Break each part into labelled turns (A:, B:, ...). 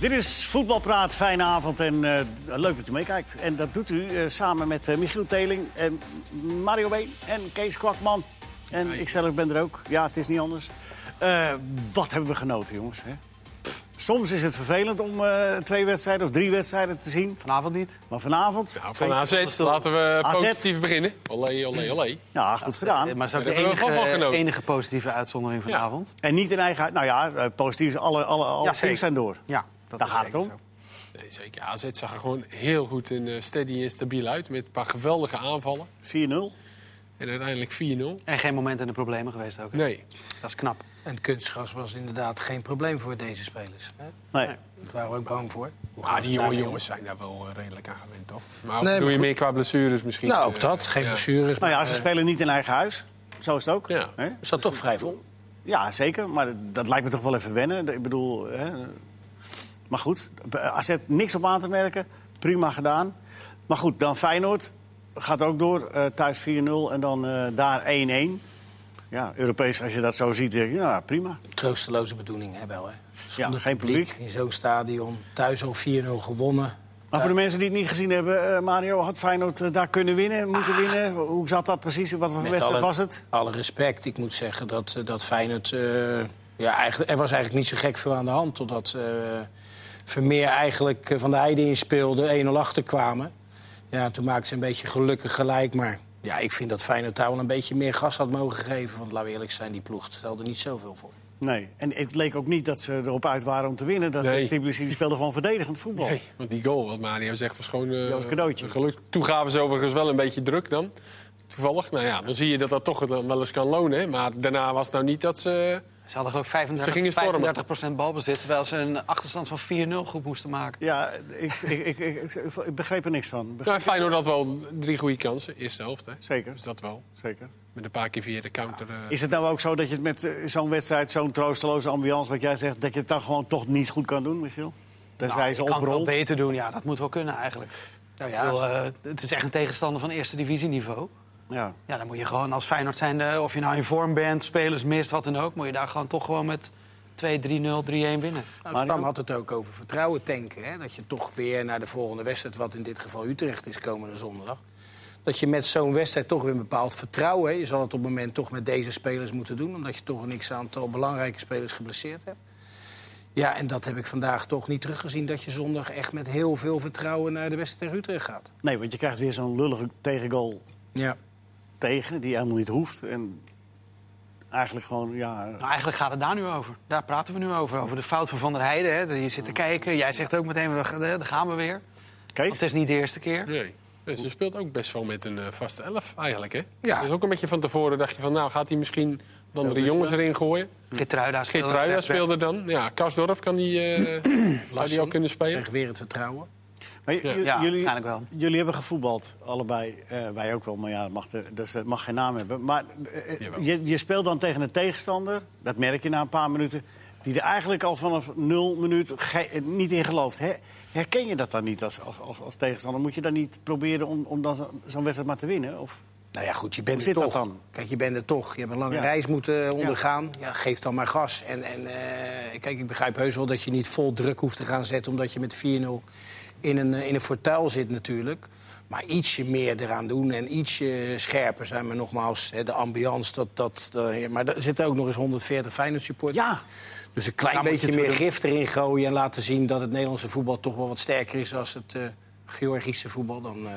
A: Dit is Voetbalpraat. Fijne avond en eh, leuk dat u meekijkt. En dat doet u eh, samen met eh, Michiel Teling, en Mario Been en Kees Kwakman. En ikzelf ben er ook. Ja, het is niet anders. Eh, wat hebben we genoten, jongens. Hè? Pff, Soms is het vervelend om eh, twee wedstrijden of drie wedstrijden te zien.
B: Vanavond niet.
A: Maar vanavond...
C: Nou, van AZ laten we
A: AZ.
C: positief beginnen. Olé, olé, olé.
A: Ja, goed gedaan.
B: Eh, Maar dat is ook
C: Ja,
B: de
C: daar hebben we wel van
B: enige, eh,
C: genoten.
B: enige positieve uitzondering vanavond.
A: En niet in eigen... Nou ja, eh, positief. is Alle, alle, alle
B: Ja,
A: teams
B: zeker.
A: zijn door.
B: Ja, dat
A: Daar
B: is
A: gaat het
B: zeker
A: om.
B: zo.
C: Nee, zeker. AZ zag er gewoon heel goed en eh, steady en stabiel uit. Met een paar geweldige aanvallen.
A: 4-0.
C: En uiteindelijk 4-0.
B: En geen moment in de problemen geweest ook. hè?
C: Nee.
B: Dat is knap.
D: En kunstgras was inderdaad geen probleem voor deze spelers. Hè?
A: Nee.
D: Daar waren we ook bang voor. Hoe
C: Maar
D: gaan ze
C: die jonge
D: daarmee om?
C: jongens zijn daar wel eh, redelijk aan gewend, toch? Maar
D: Nee,
C: doe
D: maar
C: je
D: goed.
C: meer qua blessures misschien?
D: Nou, ook dat.
C: Eh,
D: Geen
C: ja.
D: blessures.
A: Nou ja,
D: maar,
A: ze
D: eh,
A: spelen niet in eigen huis. Zo is het ook.
C: Ja.
A: Hè?
D: is dat toch vrij vol?
A: Ja, zeker. Maar dat- dat lijkt me toch wel even wennen. Ik bedoel, hè. maar goed. AZ niks op aan te merken. Prima gedaan. Maar goed, dan Feyenoord. Gaat ook door. Eh, thuis 4-0 en dan eh, daar 1-1. Ja, Europees, als je dat zo ziet, denk je, ja, prima.
D: Troosteloze bedoeling hè, wel, hè? Zonder
A: geen
D: In zo'n stadion. Thuis al 4-0 gewonnen.
A: Maar voor de mensen die het niet gezien hebben, eh, Mario, had Feyenoord eh, daar kunnen winnen, moeten
C: Ah.
A: winnen? Hoe zat dat precies? Wat voor wedstrijd was het?
D: alle respect, ik moet zeggen dat, eh, dat Feyenoord... eh, ja, eigenlijk, er was eigenlijk niet zo gek veel aan de hand. Totdat eh, Vermeer eigenlijk eh, van de Heide inspeelde, 1-0 achterkwamen. Ja, toen maakten ze een beetje gelukkig gelijk. Maar ja, ik vind dat Feyenoord daar wel een beetje meer gas had mogen geven. Want laten we eerlijk zijn, die ploeg stelde niet zoveel voor.
A: Nee. En het leek ook niet dat ze erop uit waren om te winnen. Dat
C: Nee.
A: Tbilisi die speelde gewoon verdedigend voetbal.
C: Nee, want die goal, wat Mario zegt, was gewoon eh,
A: Dat was cadeautje.
C: een geluk. Toen gaven ze overigens wel een beetje druk dan. Toevallig. Nou ja, dan zie je dat dat toch dan wel eens kan lonen. hè. Maar daarna was het nou niet dat ze...
B: Ze hadden geloof ik
C: Ze
B: 35,
C: gingen stormen.
B: 35 procent balbezit... terwijl ze een achterstand van 4-0 goed moesten maken.
A: Ja, ik, ik, ik, ik, ik begreep er niks van. Beg-
C: Nou, Feyenoord had wel drie goede kansen. Eerste helft, hè.
A: Zeker,
C: Dus dat wel.
A: zeker.
C: Met een paar keer via de counter. eh,
A: Is het nou ook zo dat je het met eh, zo'n wedstrijd, zo'n troosteloze ambiance, wat jij zegt, dat je het dan gewoon toch niet goed kan doen, Michiel? Tenzij
B: Nou,
A: ze
B: je kan het wel
A: oprolt.
B: beter doen, ja, dat moet wel kunnen eigenlijk.
D: Nou
B: Ik bedoel, eh, het is echt een tegenstander van eerste divisieniveau.
A: Ja.
B: Ja, dan moet je gewoon als Feyenoord zijn, eh, of je nou in vorm bent, spelers mist, wat dan ook... moet je daar gewoon toch gewoon met 2-3-0, 3-1 winnen.
D: Nou, Stam had het ook over vertrouwen tanken. Hè? Dat je toch weer naar de volgende wedstrijd, wat in dit geval Utrecht is komende zondag. Dat je met zo'n wedstrijd toch weer een bepaald vertrouwen hebt. Je zal het op het moment toch met deze spelers moeten doen. Omdat je toch een x-aantal belangrijke spelers geblesseerd hebt. Ja, en dat heb ik vandaag toch niet teruggezien. Dat je zondag echt met heel veel vertrouwen naar de wedstrijd tegen Utrecht gaat.
A: Nee, want je krijgt weer zo'n lullige tegengoal
D: Ja.
A: tegen, die helemaal niet hoeft. En eigenlijk gewoon, ja,
B: Nou, eigenlijk gaat het daar nu over. Daar praten we nu over. Over de fout van Van der Heijden. Hè. Je zit te kijken. Jij zegt ook meteen, we- eh, daar gaan we weer. Want
A: Kees?
B: het is niet de eerste keer.
C: Nee. Dus ze speelt ook best wel met een eh, vaste elf eigenlijk, hè?
D: Ja.
C: Dus ook een beetje van tevoren dacht je van... nou, gaat hij misschien dan
A: dus,
C: drie jongens
A: eh,
C: erin gooien?
B: Geertruida speelde.
C: Geertruida
B: rechtsback.
C: speelde dan. Ja, Karsdorp kan die, eh zou die ook kunnen spelen.
D: Kreeg weer het vertrouwen.
A: Maar j-
C: Ja.
A: j-
B: Ja,
A: jullie,
B: waarschijnlijk wel.
A: jullie hebben gevoetbald, allebei. Eh, wij ook wel, maar ja, dat mag, de- dus het mag geen naam hebben. Maar eh, eh,
C: Jawel.
A: je, je speelt dan tegen een tegenstander, dat merk je na een paar minuten... die er eigenlijk al vanaf nul minuut ge- eh, niet in gelooft. Hè? Herken je dat dan niet als, als, als, als tegenstander? Moet je dan niet proberen om, om dan zo- zo'n wedstrijd maar te winnen? Of?
D: Nou ja, goed, je bent
A: Hoe
D: er
A: zit dat
D: toch.
A: dan?
D: Kijk, je bent er toch. Je hebt een lange
A: Ja.
D: reis moeten eh, ondergaan. Ja, geef dan maar gas. En, en eh, kijk, ik begrijp heus wel dat je niet vol druk hoeft te gaan zetten... omdat je met 4-0 in een, eh, in een fortuil zit natuurlijk. Maar ietsje meer eraan doen en ietsje scherper zijn. Maar nogmaals, hè, de ambiance, dat... dat eh, maar er zitten ook nog eens 140 Feyenoord supporters.
A: Ja,
D: Dus een klein
A: Daar moet je
D: beetje
A: het
D: meer
A: voor doen.
D: gif erin gooien... en laten zien dat het Nederlandse voetbal toch wel wat sterker is... als het eh, Georgische voetbal. Dan eh,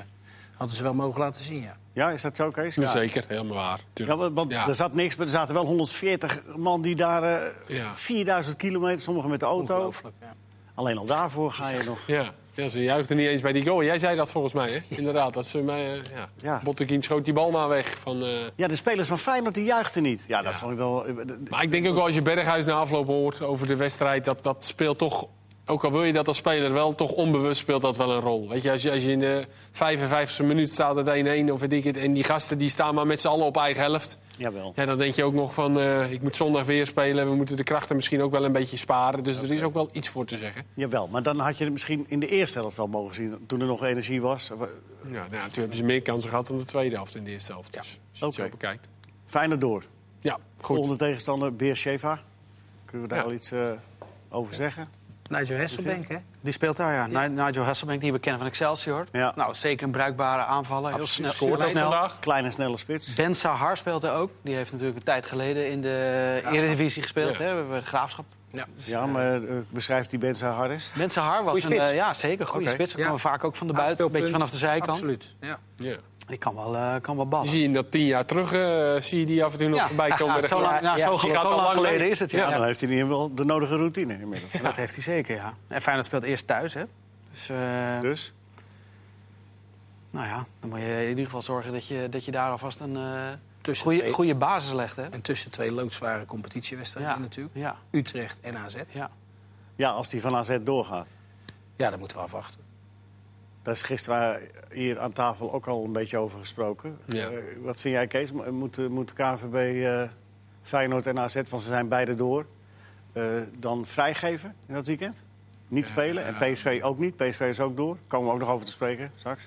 D: hadden ze wel mogen laten zien, ja.
A: ja is dat zo, Kees?
C: Ja.
A: Ja.
C: Zeker, helemaal waar.
A: Ja,
C: Tuurlijk.
A: want want
C: Ja.
A: er zat niks, maar er zaten wel 140 man die daar eh,
C: Ja.
A: 4000 kilometer, sommigen met de auto.
D: Ongelooflijk, ja.
A: Alleen al daarvoor ga je nog.
C: Ja. Ja, ze juichten niet eens bij die goal. Jij zei dat volgens mij, hè? Inderdaad, dat ze mij... eh, ja.
A: Ja.
C: Botteguin schoot die bal maar weg van... eh,
A: Ja, de spelers van Feyenoord die juichten niet. Ja, dat
C: Ja.
A: vond ik wel... eh,
C: Maar ik denk ook wel als je Berghuis na afloop hoort over de wedstrijd, dat, dat speelt toch. Ook al wil je dat als speler wel, toch onbewust speelt dat wel een rol. Weet je, als je, als je in de 55e minuut staat het 1-1 of weet ik het, en die gasten die staan maar met z'n allen op eigen helft.
A: Jawel.
C: Ja, dan denk je ook nog van, eh, ik moet zondag weer spelen, we moeten de krachten misschien ook wel een beetje sparen. Dus er is ook wel iets voor te zeggen.
A: Jawel, maar dan had je het misschien in de eerste helft wel mogen zien... toen er nog energie was. Eh,
C: Ja, nou, ja, toen hebben ze meer kansen gehad dan de tweede helft in de eerste helft. Dus als je het
A: Oké.
C: zo bekijkt.
A: Feyenoord door.
C: Ja, goed.
A: Volgende tegenstander, Beersheva. Kunnen we daar
C: Ja.
A: al iets eh, over zeggen?
B: Nou,
D: Nigel Hesselbank, hè?
B: Die speelt daar, ja. Ni- Nigel Hasselbank, die we kennen van Excelsior.
A: Ja.
B: Nou, zeker een bruikbare aanvaller. Heel snel.
A: Absoluut.
B: Scoort
A: Scoort
B: snel.
C: vandaag.
A: Kleine, snelle spits.
B: Ben Sahar speelt er ook. Die heeft natuurlijk een tijd geleden in de Eredivisie gespeeld.
C: Ja.
B: Hè, bij de Graafschap.
D: Ja.
B: Dus
A: Ja, maar eh, beschrijft die Benza Harris.
B: Ben Sahar was
D: Goeie
B: een...
D: spits.
B: eh, ja, zeker. Goede
A: Oké.
B: spits.
D: Ja.
B: Kwam vaak ook van de buiten. Een beetje vanaf de zijkant.
D: Absoluut, ja.
C: Ja.
B: Die kan wel, eh, kan wel
C: Die
B: ballen.
C: Zie je in dat tien jaar terug, eh, zie je die af en toe nog voorbij komen. met de
B: zo
C: groep.
B: lang, ja,
D: Ja,
B: zo,
D: die
B: zo
C: gaat al
B: lang
C: lang
B: geleden
C: mee.
B: is het,
A: Ja,
B: ja.
A: dan heeft hij niet wel de nodige routine inmiddels.
B: Ja, Dat heeft hij zeker, ja. En Feyenoord speelt eerst thuis, hè. Dus, eh,
A: Dus,
B: nou ja, dan moet je in ieder geval zorgen dat je, dat je daar alvast een eh
D: Tussen
B: goede,
D: twee.
B: goede basis legt, hè.
D: En tussen twee loodzware competitiewedstrijden
B: Ja,
D: natuurlijk.
B: ja,
D: Utrecht en AZ.
B: ja.
A: ja, als die van AZ doorgaat.
D: Ja, daar moeten we afwachten.
A: Daar is gisteren hier aan tafel ook al een beetje over gesproken.
C: Ja.
A: Eh, wat vind jij, Kees? Mo- Moet, eh, moet KVB eh, Feyenoord en AZ, want ze zijn beide door, eh, dan vrijgeven in dat weekend? Niet spelen. En PSV ook niet. PSV is ook door. Komen we ook nog over te spreken straks.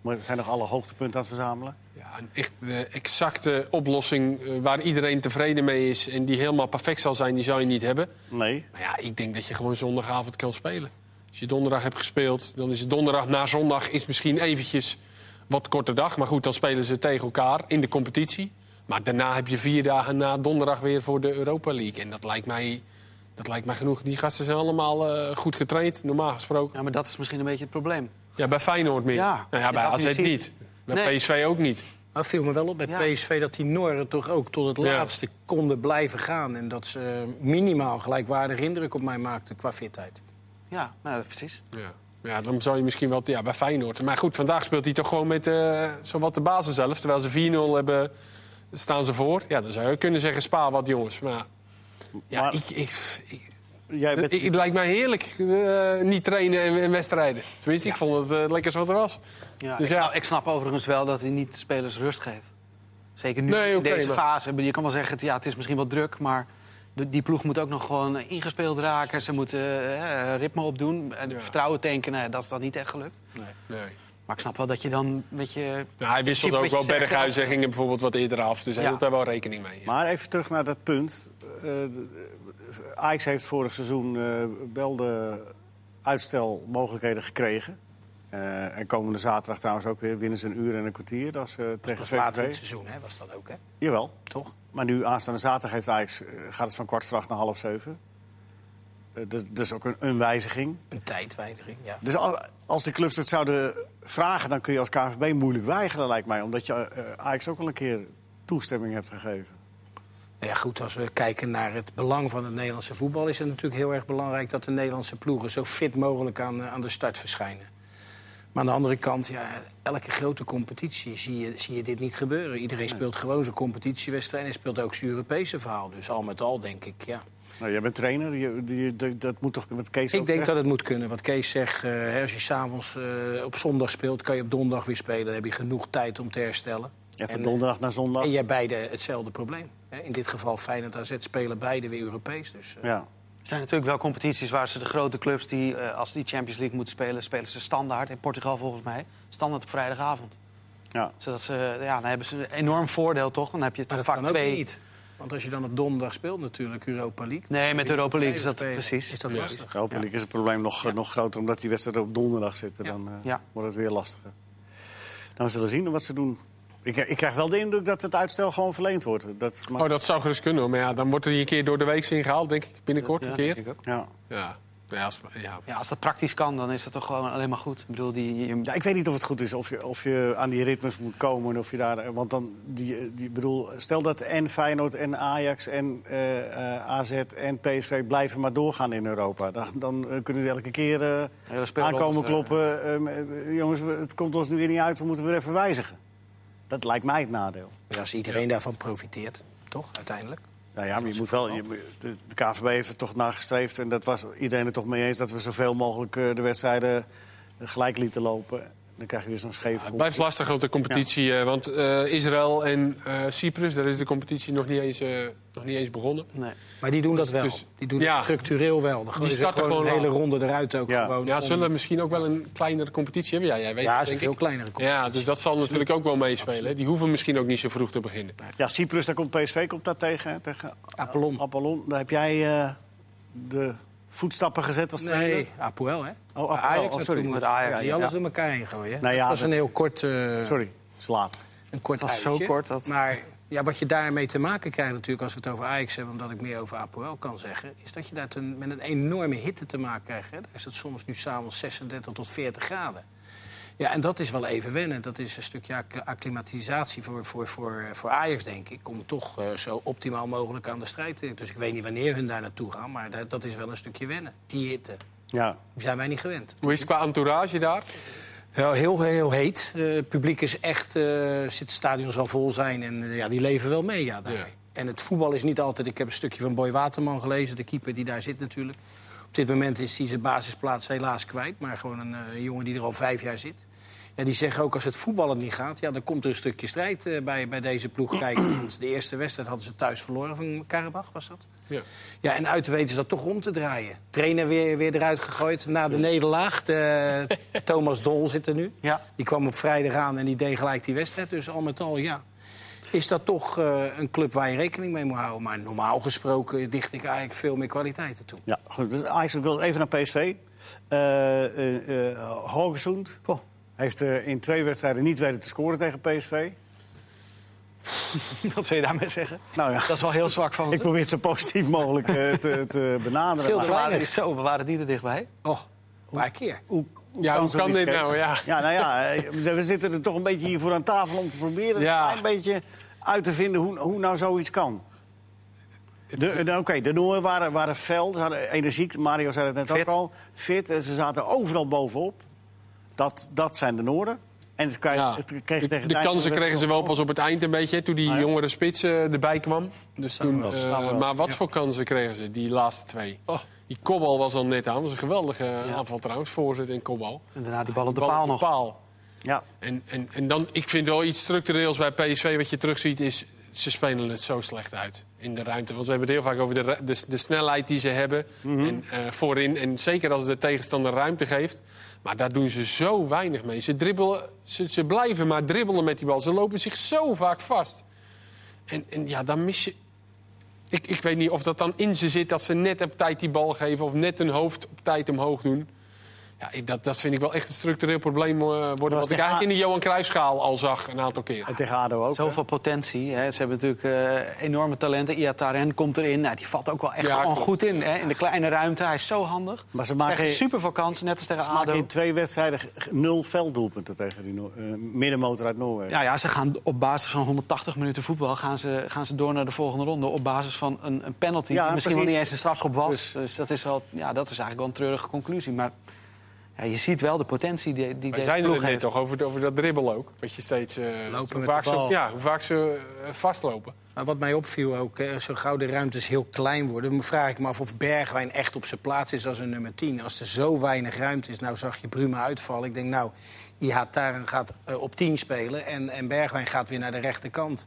A: Maar er zijn nog alle hoogtepunten aan het verzamelen.
C: Ja, een echt eh, exacte oplossing eh, waar iedereen tevreden mee is... en die helemaal perfect zal zijn, die zou je niet hebben.
A: Nee.
C: Maar ja, ik denk dat je gewoon zondagavond kan spelen. Als je donderdag hebt gespeeld, dan is het donderdag na zondag is misschien eventjes wat korte dag. Maar goed, dan spelen ze tegen elkaar in de competitie. Maar daarna heb je vier dagen na donderdag weer voor de Europa League. En dat lijkt mij, dat lijkt mij genoeg. Die gasten zijn allemaal eh, goed getraind, normaal gesproken.
B: Ja, maar dat is misschien een beetje het probleem.
C: Ja, bij Feyenoord meer.
B: Ja,
C: nou ja, bij
B: als je dat
C: AZ
B: niet ziet.
C: niet. Bij
B: Nee.
C: PSV ook niet.
D: Maar het viel me wel op bij
B: Ja.
D: PSV dat die Noren toch ook tot het
C: Ja.
D: laatste konden blijven gaan. En dat ze eh, minimaal gelijkwaardige indruk op mij maakten qua fitheid.
B: Ja, nou, dat- precies.
C: Ja. ja, dan zou je misschien wel ja, bij Feyenoord. Maar goed, vandaag speelt hij toch gewoon met eh zowat de basis zelf. Terwijl ze 4-0 hebben, staan ze voor. Ja, dan zou je kunnen zeggen, spa wat jongens. Maar ja,
A: Maar-
C: ik, ik, ik-
A: Jij bent...
C: ik- het lijkt mij heerlijk eh, niet trainen en, en wedstrijden. Tenminste, ik vond het eh, het lekkerste wat er was.
B: Ja,
C: Dus
B: ik,
C: ja.
B: Snap, ik snap overigens wel dat hij niet de spelers rust geeft. Zeker nu
C: Nee,
B: in
C: oké,
B: deze
C: maar-
B: fase. Ik bedoel, Je kan wel zeggen, het- ja, het is misschien wel druk, maar de- die ploeg moet ook nog gewoon eh, ingespeeld raken. Ze moeten eh, ritme opdoen. En
C: Ja.
B: Vertrouwen tanken, nou ja, dat is dan niet echt gelukt.
C: Nee.
B: Maar ik snap wel dat je dan met je...
C: Nou, hij wisselde
B: Principe
C: ook wel
B: wat je zegt,
C: Berghuis en
B: ja.
C: ging er bijvoorbeeld wat eerder af. Dus hij
B: Ja.
C: hield daar wel rekening mee.
A: Maar even terug naar dat punt. Eh, de- eh, Ajax heeft vorig seizoen eh wel de uitstelmogelijkheden gekregen. Eh, en komende zaterdag trouwens ook weer winnen ze een uur en een kwartier. Dat is eh, tegen
D: Dus later in het
A: VVV.
D: seizoen hè, was dat ook, hè?
A: Jawel.
D: Toch?
A: Maar nu aanstaande zaterdag heeft Ajax, eh, gaat het van kwart voor acht naar half zeven. Eh, dat, dat is ook een, een wijziging.
D: Een tijdwijdiging, ja.
A: Dus al- als de clubs het zouden vragen, dan kun je als KVB moeilijk weigeren, lijkt mij. Omdat je eh, Ajax ook al een keer toestemming hebt gegeven.
D: Nou ja, goed, als we kijken naar het belang van het Nederlandse voetbal... is het natuurlijk heel erg belangrijk dat de Nederlandse ploegen... zo fit mogelijk aan, eh, aan de start verschijnen. Maar aan de andere kant, ja, elke grote competitie zie je, zie je dit niet gebeuren. Iedereen speelt gewoon zijn competitiewedstrijd... en speelt ook zijn Europese verhaal. Dus al met al denk ik, ja.
A: Nou, jij bent trainer, je, je- dat- dat moet toch wat Kees ook
D: Ik denk
A: zegt?
D: dat het moet kunnen. Wat Kees zegt, eh, hè, als je s'avonds eh op zondag speelt... kan je op donderdag weer spelen. Dan heb je genoeg tijd om te herstellen.
A: En van
D: En,
A: donderdag naar zondag.
D: En jij beide hetzelfde probleem. hè. In dit geval Feyenoord AZ spelen beide weer Europees. Dus, eh,
A: Ja.
B: Er zijn natuurlijk wel competities waar ze de grote clubs... die eh, als die Champions League moeten spelen, spelen ze standaard. In Portugal volgens mij, standaard op vrijdagavond.
A: Ja.
B: Zodat ze, ja, dan hebben ze een enorm voordeel, toch? Dan heb je toch
D: Maar dat
B: vaak
D: kan ook
B: twee...
D: niet. Want als je dan op donderdag speelt natuurlijk Europa League.
B: Nee, met Europa League is dat
D: Spelen,
B: precies.
D: Is dat lastig?
A: Hopelijk is het probleem nog, nog groter omdat die wedstrijden op donderdag zitten. Dan eh,
B: Ja.
A: wordt het weer lastiger. Nou, we zullen zien wat ze doen. Ik, ik krijg wel de indruk dat het uitstel gewoon verleend wordt. Dat maakt-
C: Oh, dat zou gerust kunnen. hoor. Maar ja, dan wordt er hier een keer door de week ingehaald, denk ik. Binnenkort
B: Ja,
C: een keer.
B: denk ik ook.
A: ja.
C: Ja. Ja, als- ja.
B: Ja, als dat praktisch kan, dan is dat toch gewoon alleen maar goed. Ik bedoel, die, je-
A: ja, ik weet niet of het goed is of je, of je aan die ritmes moet komen. Of je daar, eh, want dan, die, die, ik bedoel, stel dat en Feyenoord en Ajax en eh, eh, AZ en PSV blijven maar doorgaan in Europa. Dan, dan eh, kunnen die elke keer eh,
B: hele speelrondes,
A: aankomen
B: eh,
A: kloppen. eh, eh, jongens, we- het komt ons nu weer niet uit, we moeten weer even wijzigen. Dat lijkt mij het nadeel.
D: Dus als iedereen daarvan profiteert, toch, uiteindelijk?
A: Nou ja, maar je moet wel. je moet- de, de KVB heeft er toch naar gestreefd. En dat was iedereen er toch mee eens dat we zoveel mogelijk eh, de wedstrijden eh, gelijk lieten lopen. Dan krijg je weer zo'n scheef.
C: Het blijft lastig op de competitie, eh, want eh, Israël en eh, Cyprus, daar is de competitie nog niet eens, eh, nog niet eens begonnen.
B: nee.
D: Maar die doen dat wel.
C: dus-
D: die doen
C: ja.
D: dat structureel wel. Dan gooien ze
C: starten
D: gewoon een
C: gewoon
D: hele
C: al.
D: ronde eruit ook
A: Ja.
D: gewoon.
C: Ja,
D: om-
C: ze zullen misschien ook wel een kleinere competitie hebben. Ja, jij weet
D: ja
C: het,
D: is een
C: denk
D: veel
C: ik.
D: kleinere competitie.
C: Ja, dus dat zal natuurlijk ook wel meespelen. hè. Die hoeven misschien ook niet zo vroeg te beginnen.
A: Ja, Cyprus, daar komt PSV komt daar tegen. hè, tegen
D: Apollon.
A: Apollon. Daar heb jij eh, de voetstappen gezet als trainer?
D: Nee, Apoel, hè?
A: Oh, Apoel,
D: Ajax
A: oh,
D: had
A: sorry,
D: toen
B: met
D: moeten.
B: Ajax,
D: Die
B: ja.
D: alles door elkaar heen gooien.
A: Nou ja,
D: dat was
A: dat-
D: een heel kort, eh
A: Sorry, het is laat.
D: een kort
B: was zo
D: uitje.
B: kort dat-
D: Maar ja, wat je daarmee te maken krijgt natuurlijk als we het over Ajax hebben... omdat ik meer over Apoel kan zeggen... is dat je daar ten- met een enorme hitte te maken krijgt. Hè? Daar is het soms nu s'avonds 36 tot 40 graden. Ja, en dat is wel even wennen. Dat is een stukje acc- acclimatisatie voor, voor, voor, eh, voor Ajax, denk ik. Om toch eh, zo optimaal mogelijk aan de strijd te Dus ik weet niet wanneer hun daar naartoe gaan, maar dat, dat is wel een stukje wennen. Die hitte.
A: Ja.
D: Die zijn wij niet gewend.
C: Hoe is het qua entourage daar?
D: Ja, heel, heel heet. Eh, het publiek is echt, eh, zit, het stadion zal vol zijn en eh, ja, die leven wel mee. Ja, daar.
C: Ja.
D: En het voetbal is niet altijd. Ik heb een stukje van Boy Waterman gelezen, de keeper die daar zit natuurlijk. Op dit moment is hij zijn basisplaats helaas kwijt, maar gewoon een eh, jongen die er al vijf jaar zit. Ja, die zeggen ook als het voetballen niet gaat, ja, dan komt er een stukje strijd eh, bij, bij deze ploeg kijken. Want de eerste wedstrijd hadden ze thuis verloren van Karabach, was dat?
C: Ja.
D: Ja, en uit weten ze dat toch om te draaien. Trainer weer, weer eruit gegooid na de nederlaag. De, Thomas Dol zit er nu.
B: Ja.
D: Die kwam op vrijdag aan en die deed gelijk die wedstrijd. Dus al met al, ja. Is dat toch eh, een club waar je rekening mee moet houden? Maar normaal gesproken dicht ik eigenlijk veel meer kwaliteiten toe.
A: Ja, goed. Dus Ajax, ik wil even naar PSV. Eh eh, eh, Haugesund heeft eh, in twee wedstrijden niet weten te scoren tegen PSV.
B: Wat wil je daarmee zeggen?
A: Nou ja,
B: Dat is wel heel zwak van
A: ik
B: ons.
A: probeer het zo positief mogelijk eh, te, te benaderen.
D: Scheelt
A: maar-
B: We waren,
D: weinig.
B: zo, we waren die er dichtbij.
D: Och, een paar keer.
A: Hoe,
C: Ja, hoe kan
A: zoiets,
C: dit
A: Kees?
C: nou, ja.
A: Ja, nou ja, eh, we we zitten er toch een beetje hier voor aan tafel om te proberen
C: Ja.
A: een klein beetje uit te vinden hoe, hoe nou zoiets kan. De, eh, Oké, de Noorden waren, waren fel, ze hadden energiek. Mario zei het net
B: Fit.
A: ook al. Fit, eh, ze zaten overal bovenop. Dat, dat zijn de Noorden. En ze kregen,
C: Ja.
A: het kreeg
C: De,
A: tegen het
C: de
A: eind-
C: kansen kregen ze wel pas op het eind een beetje, hè, toen die
A: Ah,
C: jongere spits eh, erbij kwam. Dus toen, eh, maar wat voor kansen kregen ze, die laatste twee?
A: Oh.
C: Die kopbal was al net aan. Dat was een geweldige aanval trouwens, voorzet en kopbal.
B: En daarna die bal op de
C: Bal
B: paal
C: op
B: nog.
C: paal.
A: Ja,
C: En, en, en dan, ik vind wel iets structureels bij PSV wat je terugziet is... ze spelen het zo slecht uit in de ruimte. Want we hebben het heel vaak over de, ru- de, de snelheid die ze hebben
A: Mhm.
C: en, eh, voorin. En zeker als de tegenstander ruimte geeft. Maar daar doen ze zo weinig mee. Ze, dribbelen, ze, ze blijven maar dribbelen met die bal. Ze lopen zich zo vaak vast. En, en ja, dan mis je... Ik, ik weet niet of dat dan in ze zit dat ze net op tijd die bal geven... of net hun hoofd op tijd omhoog doen. Ja, ik- dat, dat vind ik wel echt een structureel probleem eh, worden. Wat
A: de
C: ik eigenlijk
A: A-
C: in de Johan Cruijffschaal al zag een aantal keer.
A: en tegen ADO ook.
B: Zoveel potentie. Hè. Ze hebben natuurlijk eh, enorme talenten. Iataren komt erin. Nou, die valt ook wel echt
C: Ja,
B: gewoon
C: klopt.
B: goed in. Hè. In de kleine ruimte. Hij is zo handig.
A: Maar ze
B: Krijgt
A: maken,
B: super veel kansen, net als tegen
A: ze maken
B: ADO.
A: in twee wedstrijden g- nul velddoelpunten tegen die Noor- eh, middenmotor uit Noorwegen.
B: Nou Ja, ja, ze gaan op basis van 180 minuten voetbal gaan ze, gaan ze door naar de volgende ronde. Op basis van een, een penalty.
A: Ja,
B: die misschien wel
A: precies.
B: niet eens een strafschop was. Dus, dat, is wel, ja, dat is eigenlijk wel een treurige conclusie. Maar ja, je ziet wel de potentie die, die
C: Wij
B: deze
C: zijn er
B: ploeg
C: net
B: heeft.
C: toch over, over dat dribbel ook. Wat je steeds... eh,
D: Lopen
C: hoe,
D: met
C: vaak
D: de
C: ze,
D: bal.
C: ja, hoe vaak ze eh, vastlopen.
D: Maar wat mij opviel ook, eh, zo gauw de ruimtes heel klein worden... dan vraag ik me af of Bergwijn echt op zijn plaats is als een nummer 10. Als er zo weinig ruimte is, nou zag je Bruma uitvallen. Ik denk, nou, Ihataren gaat eh, op 10 spelen en, en Bergwijn gaat weer naar de rechterkant.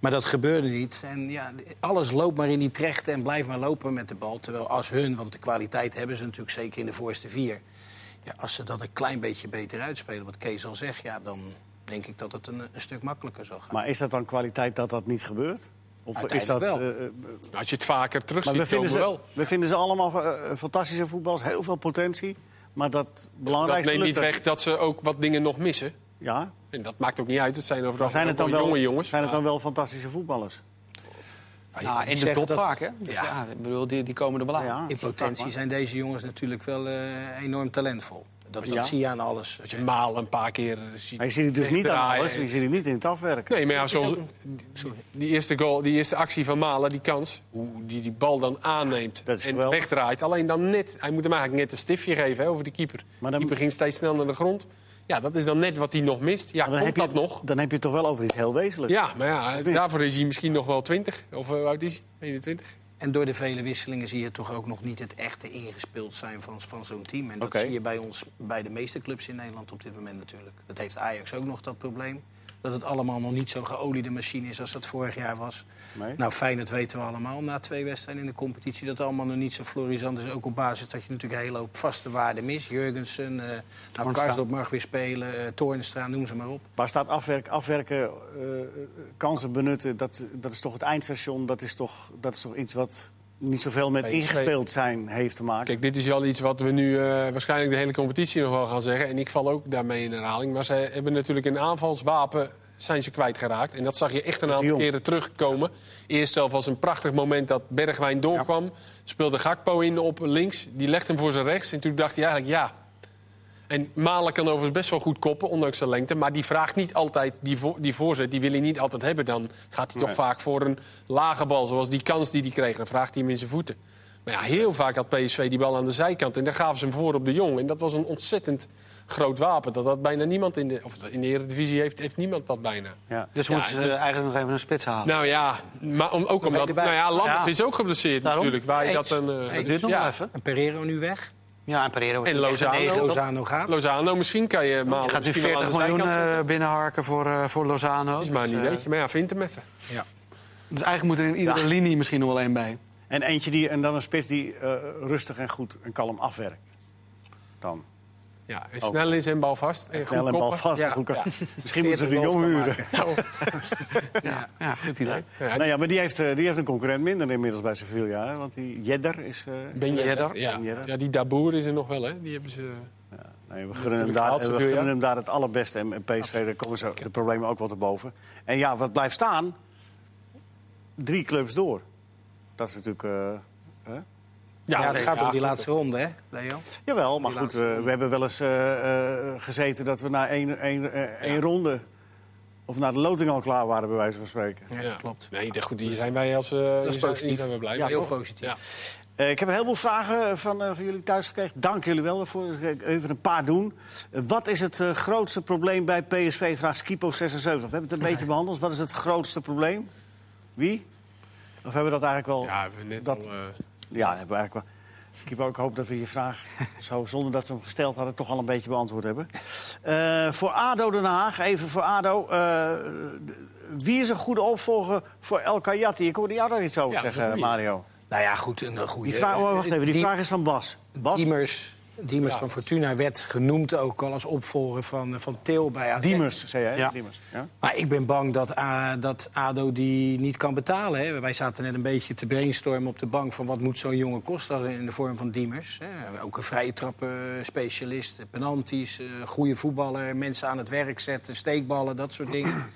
D: Maar dat gebeurde niet. En ja, alles loopt maar in die trechten en blijft maar lopen met de bal. Terwijl als hun, want de kwaliteit hebben ze natuurlijk zeker in de voorste vier... Ja, als ze dat een klein beetje beter uitspelen, wat Kees al zegt... Ja, dan denk ik dat het een, een stuk makkelijker zal gaan.
A: Maar is dat dan kwaliteit dat dat niet gebeurt? Of is dat...
D: Uiteindelijk
A: eh, eh,
C: Als je het vaker terugziet,
A: Maar we
C: ziet,
A: vinden,
C: komen
A: ze,
C: wel.
A: we vinden ze allemaal eh, fantastische voetballers, heel veel potentie. Maar dat
C: Dat
A: belangrijkste
C: neemt niet
A: lukt
C: weg dat ze ook wat dingen nog missen.
A: er. Ja,
C: En dat maakt ook niet uit. Het zijn overal
A: maar zijn het dan wel,
C: jonge jongens.
A: Zijn het
C: maar-
A: dan wel fantastische voetballers?
D: Nou, je
B: Ja,
D: kan
B: Ah, in
D: niet
B: de
D: zeggen dat-
B: topvaak, hè? Dus
D: Ja.
B: ja. ik bedoel, die, die komen er wel aan.
A: Ja,
D: In potentie zijn deze jongens natuurlijk wel eh, enorm talentvol. Dat, dat
A: Ja.
D: zie je aan alles.
C: Dat je Maal een paar keer eh, ziet.
A: Maar je ziet het dus niet aan
C: wegdraaien.
A: alles, je ziet het niet in het afwerken.
C: Nee, maar ja, zoals die eerste, goal, die eerste actie van Malen, die kans, hoe die die bal dan aanneemt
A: Dat is
C: en
A: geweldig.
C: wegdraait. Alleen dan net, hij moet hem eigenlijk net een stiftje geven hè, over de keeper.
A: Maar
C: de
A: dan-
C: keeper ging steeds sneller naar de grond. Ja, dat is dan net wat hij nog mist. Ja,
A: Maar
C: komt
A: je,
C: dat nog?
A: dan heb je het toch wel over iets heel wezenlijks.
C: Ja, maar ja, daarvoor is hij misschien nog wel 20. Of eh, hoe oud is hij? 21?
D: En door de vele wisselingen zie je toch ook nog niet het echte ingespeeld zijn van, van zo'n team. En dat
A: Oké.
D: zie je bij ons, bij de meeste clubs in Nederland op dit moment natuurlijk. Dat heeft Ajax ook nog dat probleem. Dat het allemaal nog niet zo'n geoliede machine is als dat vorig jaar was.
A: Nee.
D: Nou, fijn, dat weten we allemaal na twee wedstrijden in de competitie. Dat het allemaal nog niet zo florisant is. Ook op basis dat je natuurlijk een hele hoop vaste waarden mist. Jurgensen, eh nou,
B: Toornstra.
D: Karsdorp mag weer spelen, eh, Toornstra, noem ze maar op.
A: Waar staat afwerk, afwerken, eh, eh, kansen benutten, dat, dat is toch het eindstation. Dat is toch, dat is toch iets wat niet zoveel met
C: Nee,
A: ingespeeld zijn heeft te maken.
C: Kijk, dit is wel iets wat we nu eh, waarschijnlijk de hele competitie nog wel gaan zeggen. En ik val ook daarmee in herhaling. Maar ze hebben natuurlijk een aanvalswapen zijn ze kwijtgeraakt. En dat zag je echt een aantal
A: Jong.
C: keren terugkomen. Eerst zelf was een prachtig moment dat Bergwijn doorkwam. Speelde Gakpo in op links. Die legde hem voor zijn rechts. En toen dacht hij eigenlijk, ja... En Malen kan overigens best wel goed koppen, ondanks zijn lengte. Maar die vraagt niet altijd die, vo- die voorzet. Die wil hij niet altijd hebben. Dan gaat hij toch vaak voor een lage bal. Zoals die kans die hij kreeg. Dan vraagt hij hem in zijn voeten. Maar ja, heel vaak had PSV die bal aan de zijkant. En dan gaven ze hem voor op de jong. En dat was een ontzettend groot wapen. Dat had bijna niemand in de... Of in de Eredivisie heeft, heeft niemand dat bijna.
A: Ja.
B: Dus
C: Ja,
B: moeten ze
C: dus-
B: eigenlijk nog even een spits halen.
C: Nou ja, maar om, ook omdat...
D: erbij.
C: Nou ja, Lammers
A: Ja.
C: is ook geblesseerd
B: Daarom.
C: natuurlijk. Waar je
B: Eens.
C: dat een, eh,
B: dat duurt nog
C: ja.
B: wel even.
D: En Pereiro nu weg.
B: Ja, en Pereiro
C: En
B: is echt een
C: Lozano.
B: negen, toch?
D: Lozano gaat.
C: Lozano, misschien kan je Malen
B: Je gaat nu
C: misschien wel aan
B: 40
C: de
B: miljoen
C: zijkant zetten.
B: eh, binnenharken voor, eh, voor Lozano.
C: Dat is maar een
B: Dus, eh,
C: ideetje. Maar ja, vind hem even.
B: Dus eigenlijk moet er in iedere
A: Ja.
B: linie misschien nog wel één bij.
A: En eentje die, en dan een spits die eh, rustig en goed en kalm afwerkt. Dan.
C: Ja, en snel is en bal vast. En
A: Snel
C: goed
A: en bal
C: koppen.
A: vast.
D: Ja.
A: goed kan-
D: Ja.
A: Misschien moeten ze de
D: 40
A: jong
D: goals kan
A: huren.
B: Ja, ja goed idee.
C: Ja,
A: Nou ja, maar die heeft, eh, die heeft een concurrent minder inmiddels bij Sevilla. Hè? Want die Jedder is... eh,
C: ben je
B: Ben je
C: daar?
B: er?
C: Ja.
A: Ben je er?
C: ja, die Daboer is er nog wel, hè? Die hebben ze...
A: Nee, we gunnen, hem
C: natuurlijk
A: daar,
C: gehaald,
A: we
C: Sevilla.
A: gunnen hem daar het allerbeste. En en PSV, daar komen ze de problemen ook wel te boven. En ja, wat blijft staan? Drie clubs door. Dat is natuurlijk... eh, hè?
D: Ja, het
C: nee,
D: gaat om die
C: goed.
D: laatste ronde, hè, Leo?
A: Jawel, maar
D: Die
A: goed,
D: laatste
A: eh, we hebben wel eens eh, eh, gezeten dat we na één, één, eh, één ronde... of na de loting al klaar waren, bij wijze van spreken.
C: Ja, klopt. Nee, de- goed, hier zijn wij als... eh dat
D: is positief.
C: Zijn we blij
D: Ja,
C: mee,
D: heel
C: toch?
D: positief.
C: Ja.
A: Eh, ik heb een heleboel vragen van, eh, van jullie thuis gekregen. Dank jullie wel daarvoor. Ik ga Even een paar doen. Eh, wat is het eh, grootste probleem bij PSV? Vraagt Skipo76. We hebben het een beetje behandeld. Wat is het grootste probleem? Wie? Of hebben we dat eigenlijk wel...
C: Ja, we hebben net
A: Dat-
C: al... eh,
A: Ja, hebben we eigenlijk wel. Kipo, ik hoop dat we je vraag, zo, zonder dat we hem gesteld hadden, toch al een beetje beantwoord hebben. Eh, voor ADO Den Haag, even voor ADO. eh, d- wie is een goede opvolger voor El Kayati? Ik hoorde jou daar iets over
C: Ja, dat is een
A: zeggen,
C: goeie.
A: Mario.
D: Nou ja, goed, een eh, goede...
A: Die vraag, oh, wacht even, die
D: Die-
A: vraag is van Bas. Bas?
D: Diemers, Diemers van Fortuna werd genoemd ook al als opvolger van, eh, van Til bij AZ.
A: Diemers, zei jij? hè?
D: Ja.
A: Diemers. Ja?
D: Maar ik ben bang dat, A- dat ADO die niet kan betalen. Hè. Wij zaten net een beetje te brainstormen op de bank... van wat moet zo'n jongen kosten in de vorm van Diemers. Hè. Ook een vrije trappen-specialist, penalties, eh, goede voetballer... mensen aan het werk zetten, steekballen, dat soort dingen.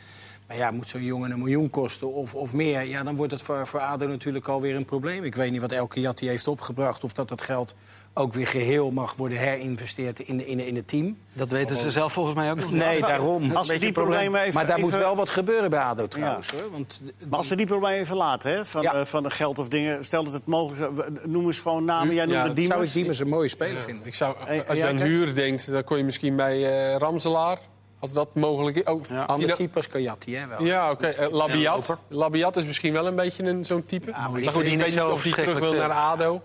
D: Maar ja, moet zo'n jongen een miljoen kosten of, of meer... ja, dan wordt het voor, voor ADO natuurlijk alweer een probleem. Ik weet niet wat elke Jatti heeft opgebracht... of dat dat geld ook weer geheel mag worden herinvesteerd in, in, in het team.
B: Dat weten
C: Oh.
B: ze zelf volgens mij ook nog niet.
D: Nee, daarom.
A: Als we die problemen even...
D: Maar daar moet
A: even-
D: wel wat gebeuren bij ADO trouwens. Hoor. Want
A: Maar als we die problemen even laten, hè? Van,
D: Ja.
A: eh, van de geld of dingen. Stel dat het mogelijk zou... we- Noem eens gewoon namen. Jij noemde
C: Ja, dat
D: zou ik
A: Diemers.
D: Diemers een mooie speler
C: Ja,
D: vinden.
C: Ik zou,
A: Hey,
C: als je
A: jij
C: aan
A: kijkt?
C: huur denkt, dan kon je misschien bij eh, Ramselaar. Als dat mogelijk is. Oh,
D: Ander
C: Ida-
D: type als Kajati, hè? Wel.
C: Ja, oké. eh, Labiat.
B: loper.
C: Labiat is misschien wel een beetje een- zo'n type.
B: maar die
C: maar goed, ik
B: verdienen
C: weet niet
B: zo
C: of die terug wil naar
B: verschrikkelijk
C: ADO.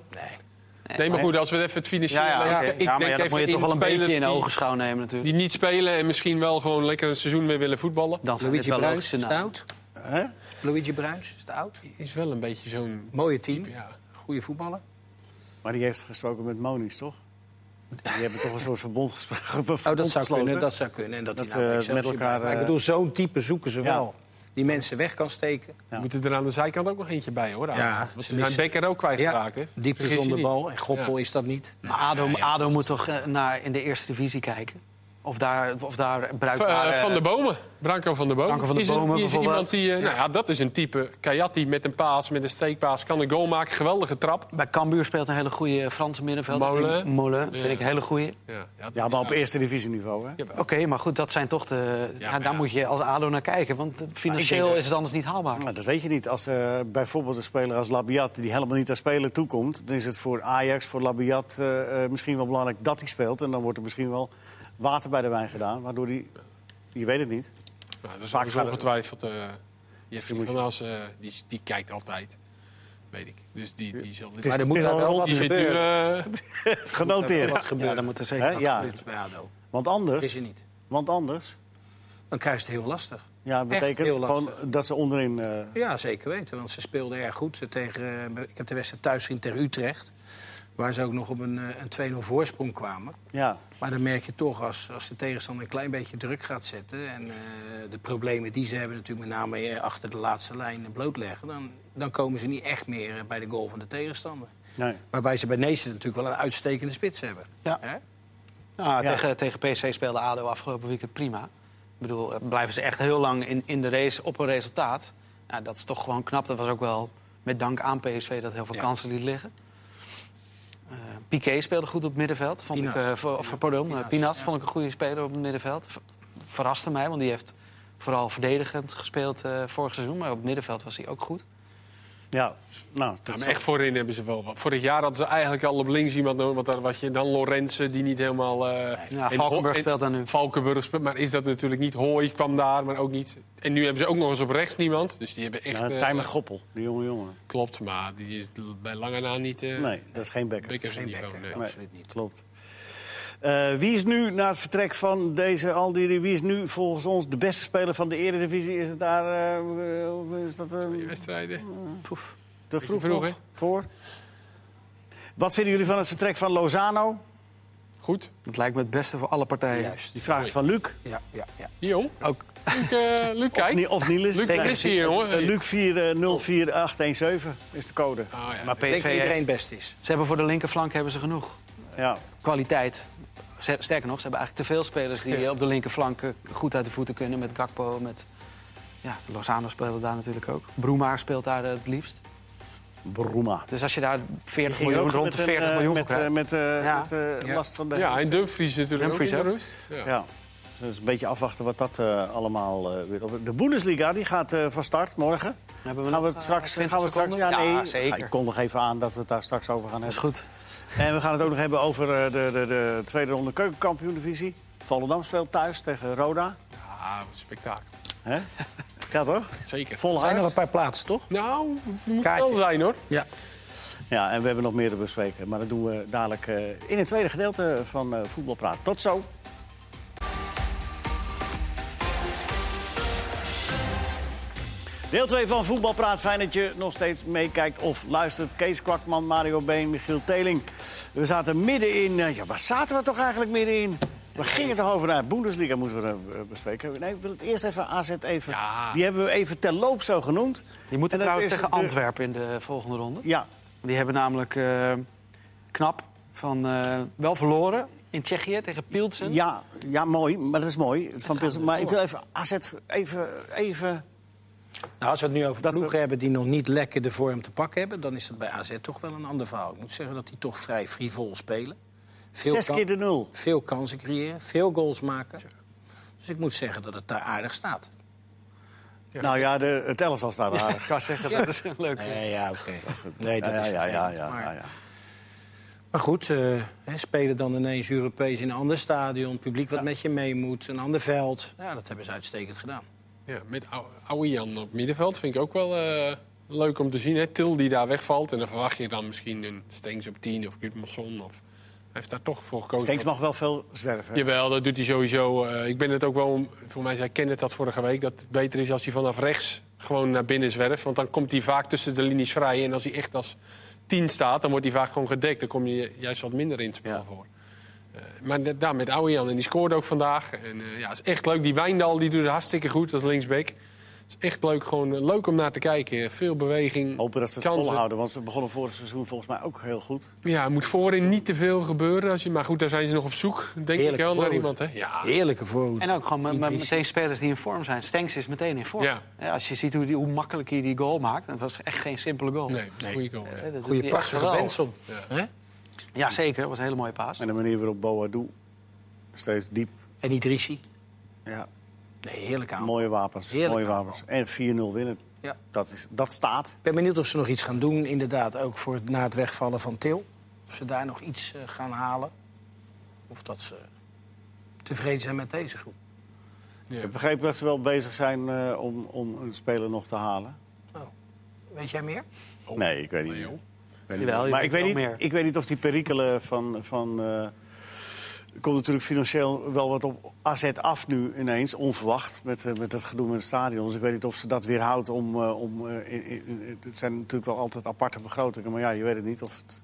C: Nee. Nee, maar goed, als we even het financiële...
B: Ja, ja, oké.
C: ik-
B: ja,
C: ik
B: maar
C: denk
B: ja, dat
C: even
B: moet je toch
C: in
B: wel een beetje
C: spelers
B: in
C: die-
B: ogenschouw nemen natuurlijk.
C: Die niet spelen en misschien wel gewoon lekker een seizoen mee willen voetballen.
B: Dan zijn dit
D: Luigi
B: wel
D: Bruins
B: logische
D: is te
B: namen.
D: oud.
A: Hè?
D: Luigi Bruins is te oud.
C: Is wel een beetje zo'n...
D: Mooie team.
C: Ja.
D: Goede
A: Oh,
D: voetballer.
A: Maar die heeft gesproken met Monies, toch? Die hebben toch een soort verbond gesproken.
D: Oh, dat zou kunnen. Dat zou kunnen. En dat,
A: Dat
D: hij
A: ze
D: nou bij
A: met
D: Excelsior
A: elkaar,
D: blijft. Maar Ik
A: eh,
D: bedoel, zo'n type zoeken ze
A: Ja.
D: wel. Die mensen weg kan steken.
C: We moeten er aan de zijkant ook nog eentje bij, hoor.
D: Ja,
C: Want
D: ze
C: ze zijn
D: missen-
C: Becker ook kwijtgeraakt, hè.
D: diepte
C: Vergis je
D: zonder
C: niet.
D: bal. En Goppel
C: Ja.
D: is dat niet.
B: Maar ADO, ADO moet toch eh, naar in de eerste divisie kijken? Of daar, of daar
C: Van, eh,
B: bruikbare...
C: van de Bomen. Branko van de Bomen.
B: Branco van de
C: is een-
B: Bomen
C: is
B: bijvoorbeeld.
C: iemand die... eh, Nou ja, dat is een type. Kayati met een paas, met een steekpaas. Kan een goal maken. Geweldige trap.
B: Bij Cambuur speelt een hele goede Franse middenvelder.
C: Molen.
B: Molen, vind ik een hele goede.
C: Ja,
A: Ja, maar op eerste divisieniveau, hè?
B: Oké, maar goed, dat zijn toch de... Ja,
C: maar
B: daar
C: ja.
B: moet je als ADO naar kijken, want financieel
A: dat-
B: is het anders niet haalbaar.
A: Nou, dat weet je niet. Als eh, bijvoorbeeld een speler als Labiat, die helemaal niet aan spelen toekomt... dan is het voor Ajax, voor Labiat eh, eh, misschien wel belangrijk dat hij speelt. En dan wordt er misschien wel water bij de wijn gedaan, waardoor die... Je weet het niet.
C: Nou, dat is
A: Vaak
C: Vaak
A: gaat het-
C: ongetwijfeld. eh Jeffrey
A: moet je-
C: van As, eh, die, die kijkt altijd. Weet ik. Dus die, die zal dit...
A: is-
D: Maar er
A: het
D: moet
A: is
D: daar
A: al
D: wel
A: een
D: wat
C: die zit nu,
D: gebeuren.
C: eh,
D: Er moet
A: Genoteerd.
D: wat gebeuren.
B: dan moet er zeker
A: Hè?
B: wat
A: Ja.
B: gebeuren.
D: Bij ADO.
A: Want
D: Dat is
A: anders,
D: je niet.
A: want anders
D: Dan krijg je het heel lastig.
A: ja, dat
D: Echt
A: betekent
D: heel
A: gewoon
D: lastig.
A: dat ze onderin... eh,
D: eh, Ja, zeker weten. Want ze speelden erg goed. Tegen, eh, ik heb de wedstrijd thuis gezien tegen Utrecht. Waar ze ook nog op een, eh, een 2-0 voorsprong kwamen.
A: Ja.
D: Maar dan merk je toch, als, als de tegenstander een klein beetje druk gaat zetten... en eh, de problemen die ze hebben natuurlijk met name eh, achter de laatste lijn eh, blootleggen... Dan, dan komen ze niet echt meer eh, bij de goal van de tegenstander.
A: Nee.
D: Waarbij ze bij Neesen natuurlijk wel een uitstekende spits hebben.
B: Ja.
D: Hè?
B: Nou,
A: Ja.
B: tegen, tegen PSV speelde ADO afgelopen weekend prima. Ik bedoel, eh, blijven ze echt heel lang in, in de race op een resultaat. Nou, dat is toch gewoon knap. Dat was ook wel met dank aan PSV dat heel veel
D: Ja.
B: kansen liet liggen. Eh, Piqué speelde goed op het middenveld. Vond ik,
D: Pinas.
B: eh, voor- of, pardon, eh,
D: Pinas,
B: Pinas,
D: ja.
B: vond ik een goede speler op het middenveld. Ver- Verraste mij, want die heeft vooral verdedigend gespeeld eh, vorig seizoen. Maar op het middenveld was hij ook goed.
A: Ja, nou, dat
C: maar
A: zal-
C: echt voorin hebben ze wel wat. Vorig jaar hadden ze eigenlijk al op links iemand nodig. Want daar was je dan Lorenzen, die niet helemaal... eh,
B: Ja,
C: in-
B: Valkenburg
C: in-
B: speelt dan nu.
C: Valkenburg speelt, maar is dat natuurlijk niet. Hooi kwam daar, maar ook niet. En nu hebben ze ook nog eens op rechts niemand. Dus die hebben echt...
A: Nou,
C: eh,
A: Tijmen Goppel, die jonge jongen.
C: klopt, maar die is bij lange na niet... eh
A: Nee, dat is geen bekker.
C: Bekkers
D: Geen
C: niveau,
D: bekker,
C: nee.
A: Nee,
D: absoluut niet.
A: Klopt. Eh, wie is nu, na het vertrek van deze Aldi, wie is nu volgens ons de beste speler van de Eredivisie? Is het daar, eh, eh, is dat eh,
C: Die wedstrijden.
B: Poef.
A: te vroeg,
C: vroeg,
A: nog
C: hè?
A: voor? Wat vinden jullie van het vertrek van Lozano?
C: Goed.
B: Dat lijkt me het beste voor alle partijen.
D: Juist.
A: Die vraag is van Luc.
D: Ja, ja, ja.
C: Jong.
B: Ook
C: Luc, eh, Luc kijk.
A: Ni- Of Niels.
C: Luc
A: Nee,
C: is hier, jongen.
A: eh, Luc 404817 is de code.
C: Ah, ja.
B: Maar
D: Ik denk
B: PSV
D: dat
B: heeft-
D: iedereen best is.
B: Ze hebben voor de linkerflank hebben ze genoeg
A: Ja.
B: kwaliteit. Ze- Sterker nog, ze hebben eigenlijk te veel spelers die eh, op de linkerflank eh, goed uit de voeten kunnen. Met Gakpo, met ja, Lozano speelde daar natuurlijk ook. Broemaar speelt daar eh, het liefst.
A: Bruma.
B: Dus als je daar 40
A: Ging
B: miljoen,
A: ook
B: rond
A: met
B: de
A: een,
B: 40
A: eh,
B: miljoen voor
A: met, eh,
B: krijgt.
A: met, eh,
B: Ja.
A: met, eh,
D: Ja.
A: last van de
C: Ja, en Dumfries natuurlijk
B: Dumfries
C: ook in de
B: ook.
C: rust. Ja.
A: Ja, dus een beetje afwachten wat dat eh, allemaal eh, weer op. De Bundesliga die gaat eh, van start morgen.
B: Hebben
A: Gaan we
B: nog,
A: het straks,
B: eh,
A: gaan we het
B: 20
A: straks ja,
B: seconden?
A: nee, Ah,
B: Ja, zeker.
A: Ik kon nog even aan dat we het daar straks over gaan
B: Dat is
A: hebben.
B: goed.
A: En we gaan het ook nog hebben over eh, de, de, de tweede ronde keukenkampioen-divisie. Volendam speelt thuis tegen Roda.
C: Ah, wat een spektakel.
A: hè? Ja, toch?
C: Zeker.
A: Vol
D: Er zijn nog
A: hard.
D: een paar plaatsen, toch?
C: Nou, die moet
D: Kaartjes.
C: wel zijn hoor.
D: Ja.
A: Ja, en we hebben nog meer te bespreken. Maar dat doen we dadelijk eh, in het tweede gedeelte van eh Voetbalpraat. Tot zo. Deel 2 van Voetbalpraat. Fijn dat je nog steeds meekijkt of luistert. Kees Kwakman, Mario Been, Michiel Teling. We zaten midden in... eh, Ja, waar zaten we toch eigenlijk midden in? We gingen toch over naar Bundesliga, moesten we eh, bespreken. Nee, ik wil het eerst even AZ even...
C: Ja.
A: Die hebben we even terloops zo genoemd.
B: Die moeten
A: En dat
B: trouwens
A: is
B: tegen
A: de-
B: Antwerpen in de volgende ronde.
A: Ja,
B: Die hebben namelijk eh, knap van eh, wel verloren in Tsjechië tegen Pilsen.
A: Ja, ja, mooi. Maar dat is mooi. Van Pilsen. Maar ik wil even AZ even... even
D: Nou, als we het nu over
A: Dat
D: ploegen
A: we-
D: hebben die nog niet lekker de vorm te pakken hebben... dan is dat bij AZ toch wel een ander verhaal. Ik moet zeggen dat die toch vrij frivol spelen. Veel
A: zes
D: kan-
A: keer de nul.
D: Veel kansen creëren, veel goals maken. Dus ik moet zeggen dat het daar aardig staat.
A: Nou ja, de, het elftal staat
B: Ja,
A: aardig.
B: ik kan zeggen, dat is een leuk.
D: Nee, ja, oké. Nee, dat
A: Ja, ja,
D: is
A: ja,
D: vervelend,
A: ja,
D: maar-
A: ja, ja.
D: Maar goed, eh, hè, spelen dan ineens Europees in een ander stadion. Publiek wat met je mee moet, een ander veld. Ja, dat hebben ze uitstekend gedaan.
C: Ja, met Au- Ouijan op middenveld vind ik ook wel eh, leuk om te zien. Hè? Til die daar wegvalt en dan verwacht je dan misschien een Stengs op 10 of Gudmundsson. Of... Hij heeft daar toch voor gekozen.
A: Stenks mag wel veel zwerven.
C: Jawel, dat doet hij sowieso. Eh, ik ben het ook wel, om- voor mij zei Kenneth dat vorige week, dat het beter is als hij vanaf rechts gewoon naar binnen zwerft. Want dan komt hij vaak tussen de linies vrij. En als hij echt als 10 staat, dan wordt hij vaak gewoon gedekt. Dan kom je juist wat minder in het spel
A: Ja.
C: voor. Eh, maar da- daar met Ouwejan, en die scoorde ook vandaag. En eh, ja, is echt leuk. Die Wijndal, die doet het hartstikke goed als linksback. Het is echt leuk, gewoon eh, leuk om naar te kijken. Veel beweging.
A: Hopen dat ze het
C: kansen.
A: volhouden, want ze begonnen vorig seizoen volgens mij ook heel goed.
C: Ja, er moet voorin niet te veel gebeuren. Als je, maar goed, daar zijn ze nog op zoek, denk ik
D: Heerlijk
C: wel, naar
D: voorhoede.
C: iemand. Hè?
A: Ah.
C: Ja,
D: Heerlijke voorhoede.
B: En ook gewoon met- met
D: Idrissi.
B: meteen spelers die in vorm zijn. Stenks is meteen in vorm.
C: Ja.
B: Ja, als je ziet hoe, die, hoe makkelijk hij die goal maakt. Dat was echt geen simpele goal.
C: nee, goede goal. ja.
B: Hè, dat-
D: Goeie
B: die-
D: prachtige
B: echt wel.
D: Benson. hè?
B: Ja, zeker. Dat was een hele mooie paas.
A: En de manier waarop Boadu steeds diep.
D: En Idrissi.
A: Ja.
D: Nee, heerlijk aan.
A: Mooie wapens,
D: Heerlijk
A: mooie
D: aanval.
A: wapens. En 4-0 winnen.
D: Ja.
A: Dat, is, dat staat.
D: Ik ben benieuwd of ze nog iets gaan doen, inderdaad. Ook voor het, na het wegvallen van Til. Of ze daar nog iets eh, gaan halen. Of dat ze tevreden zijn met deze groep.
C: Ja.
A: Ik begreep dat ze wel bezig zijn eh, om, om een speler nog te halen.
D: Oh. Weet jij meer?
C: Oh.
A: Nee, ik weet niet.
C: Nee, joh.
A: Ik weet
B: Jawel,
A: niet.
B: je
A: maar ik
B: weet
A: weet,
B: wel
A: niet,
B: meer.
A: ik weet niet of die perikelen van. van eh, komt natuurlijk financieel wel wat op AZ af nu ineens, onverwacht, met, eh, met dat gedoe met het stadion. Dus ik weet niet of ze dat weer houdt om... eh, om eh, in- in- in- het zijn natuurlijk wel altijd aparte begrotingen, maar ja, je weet het niet of het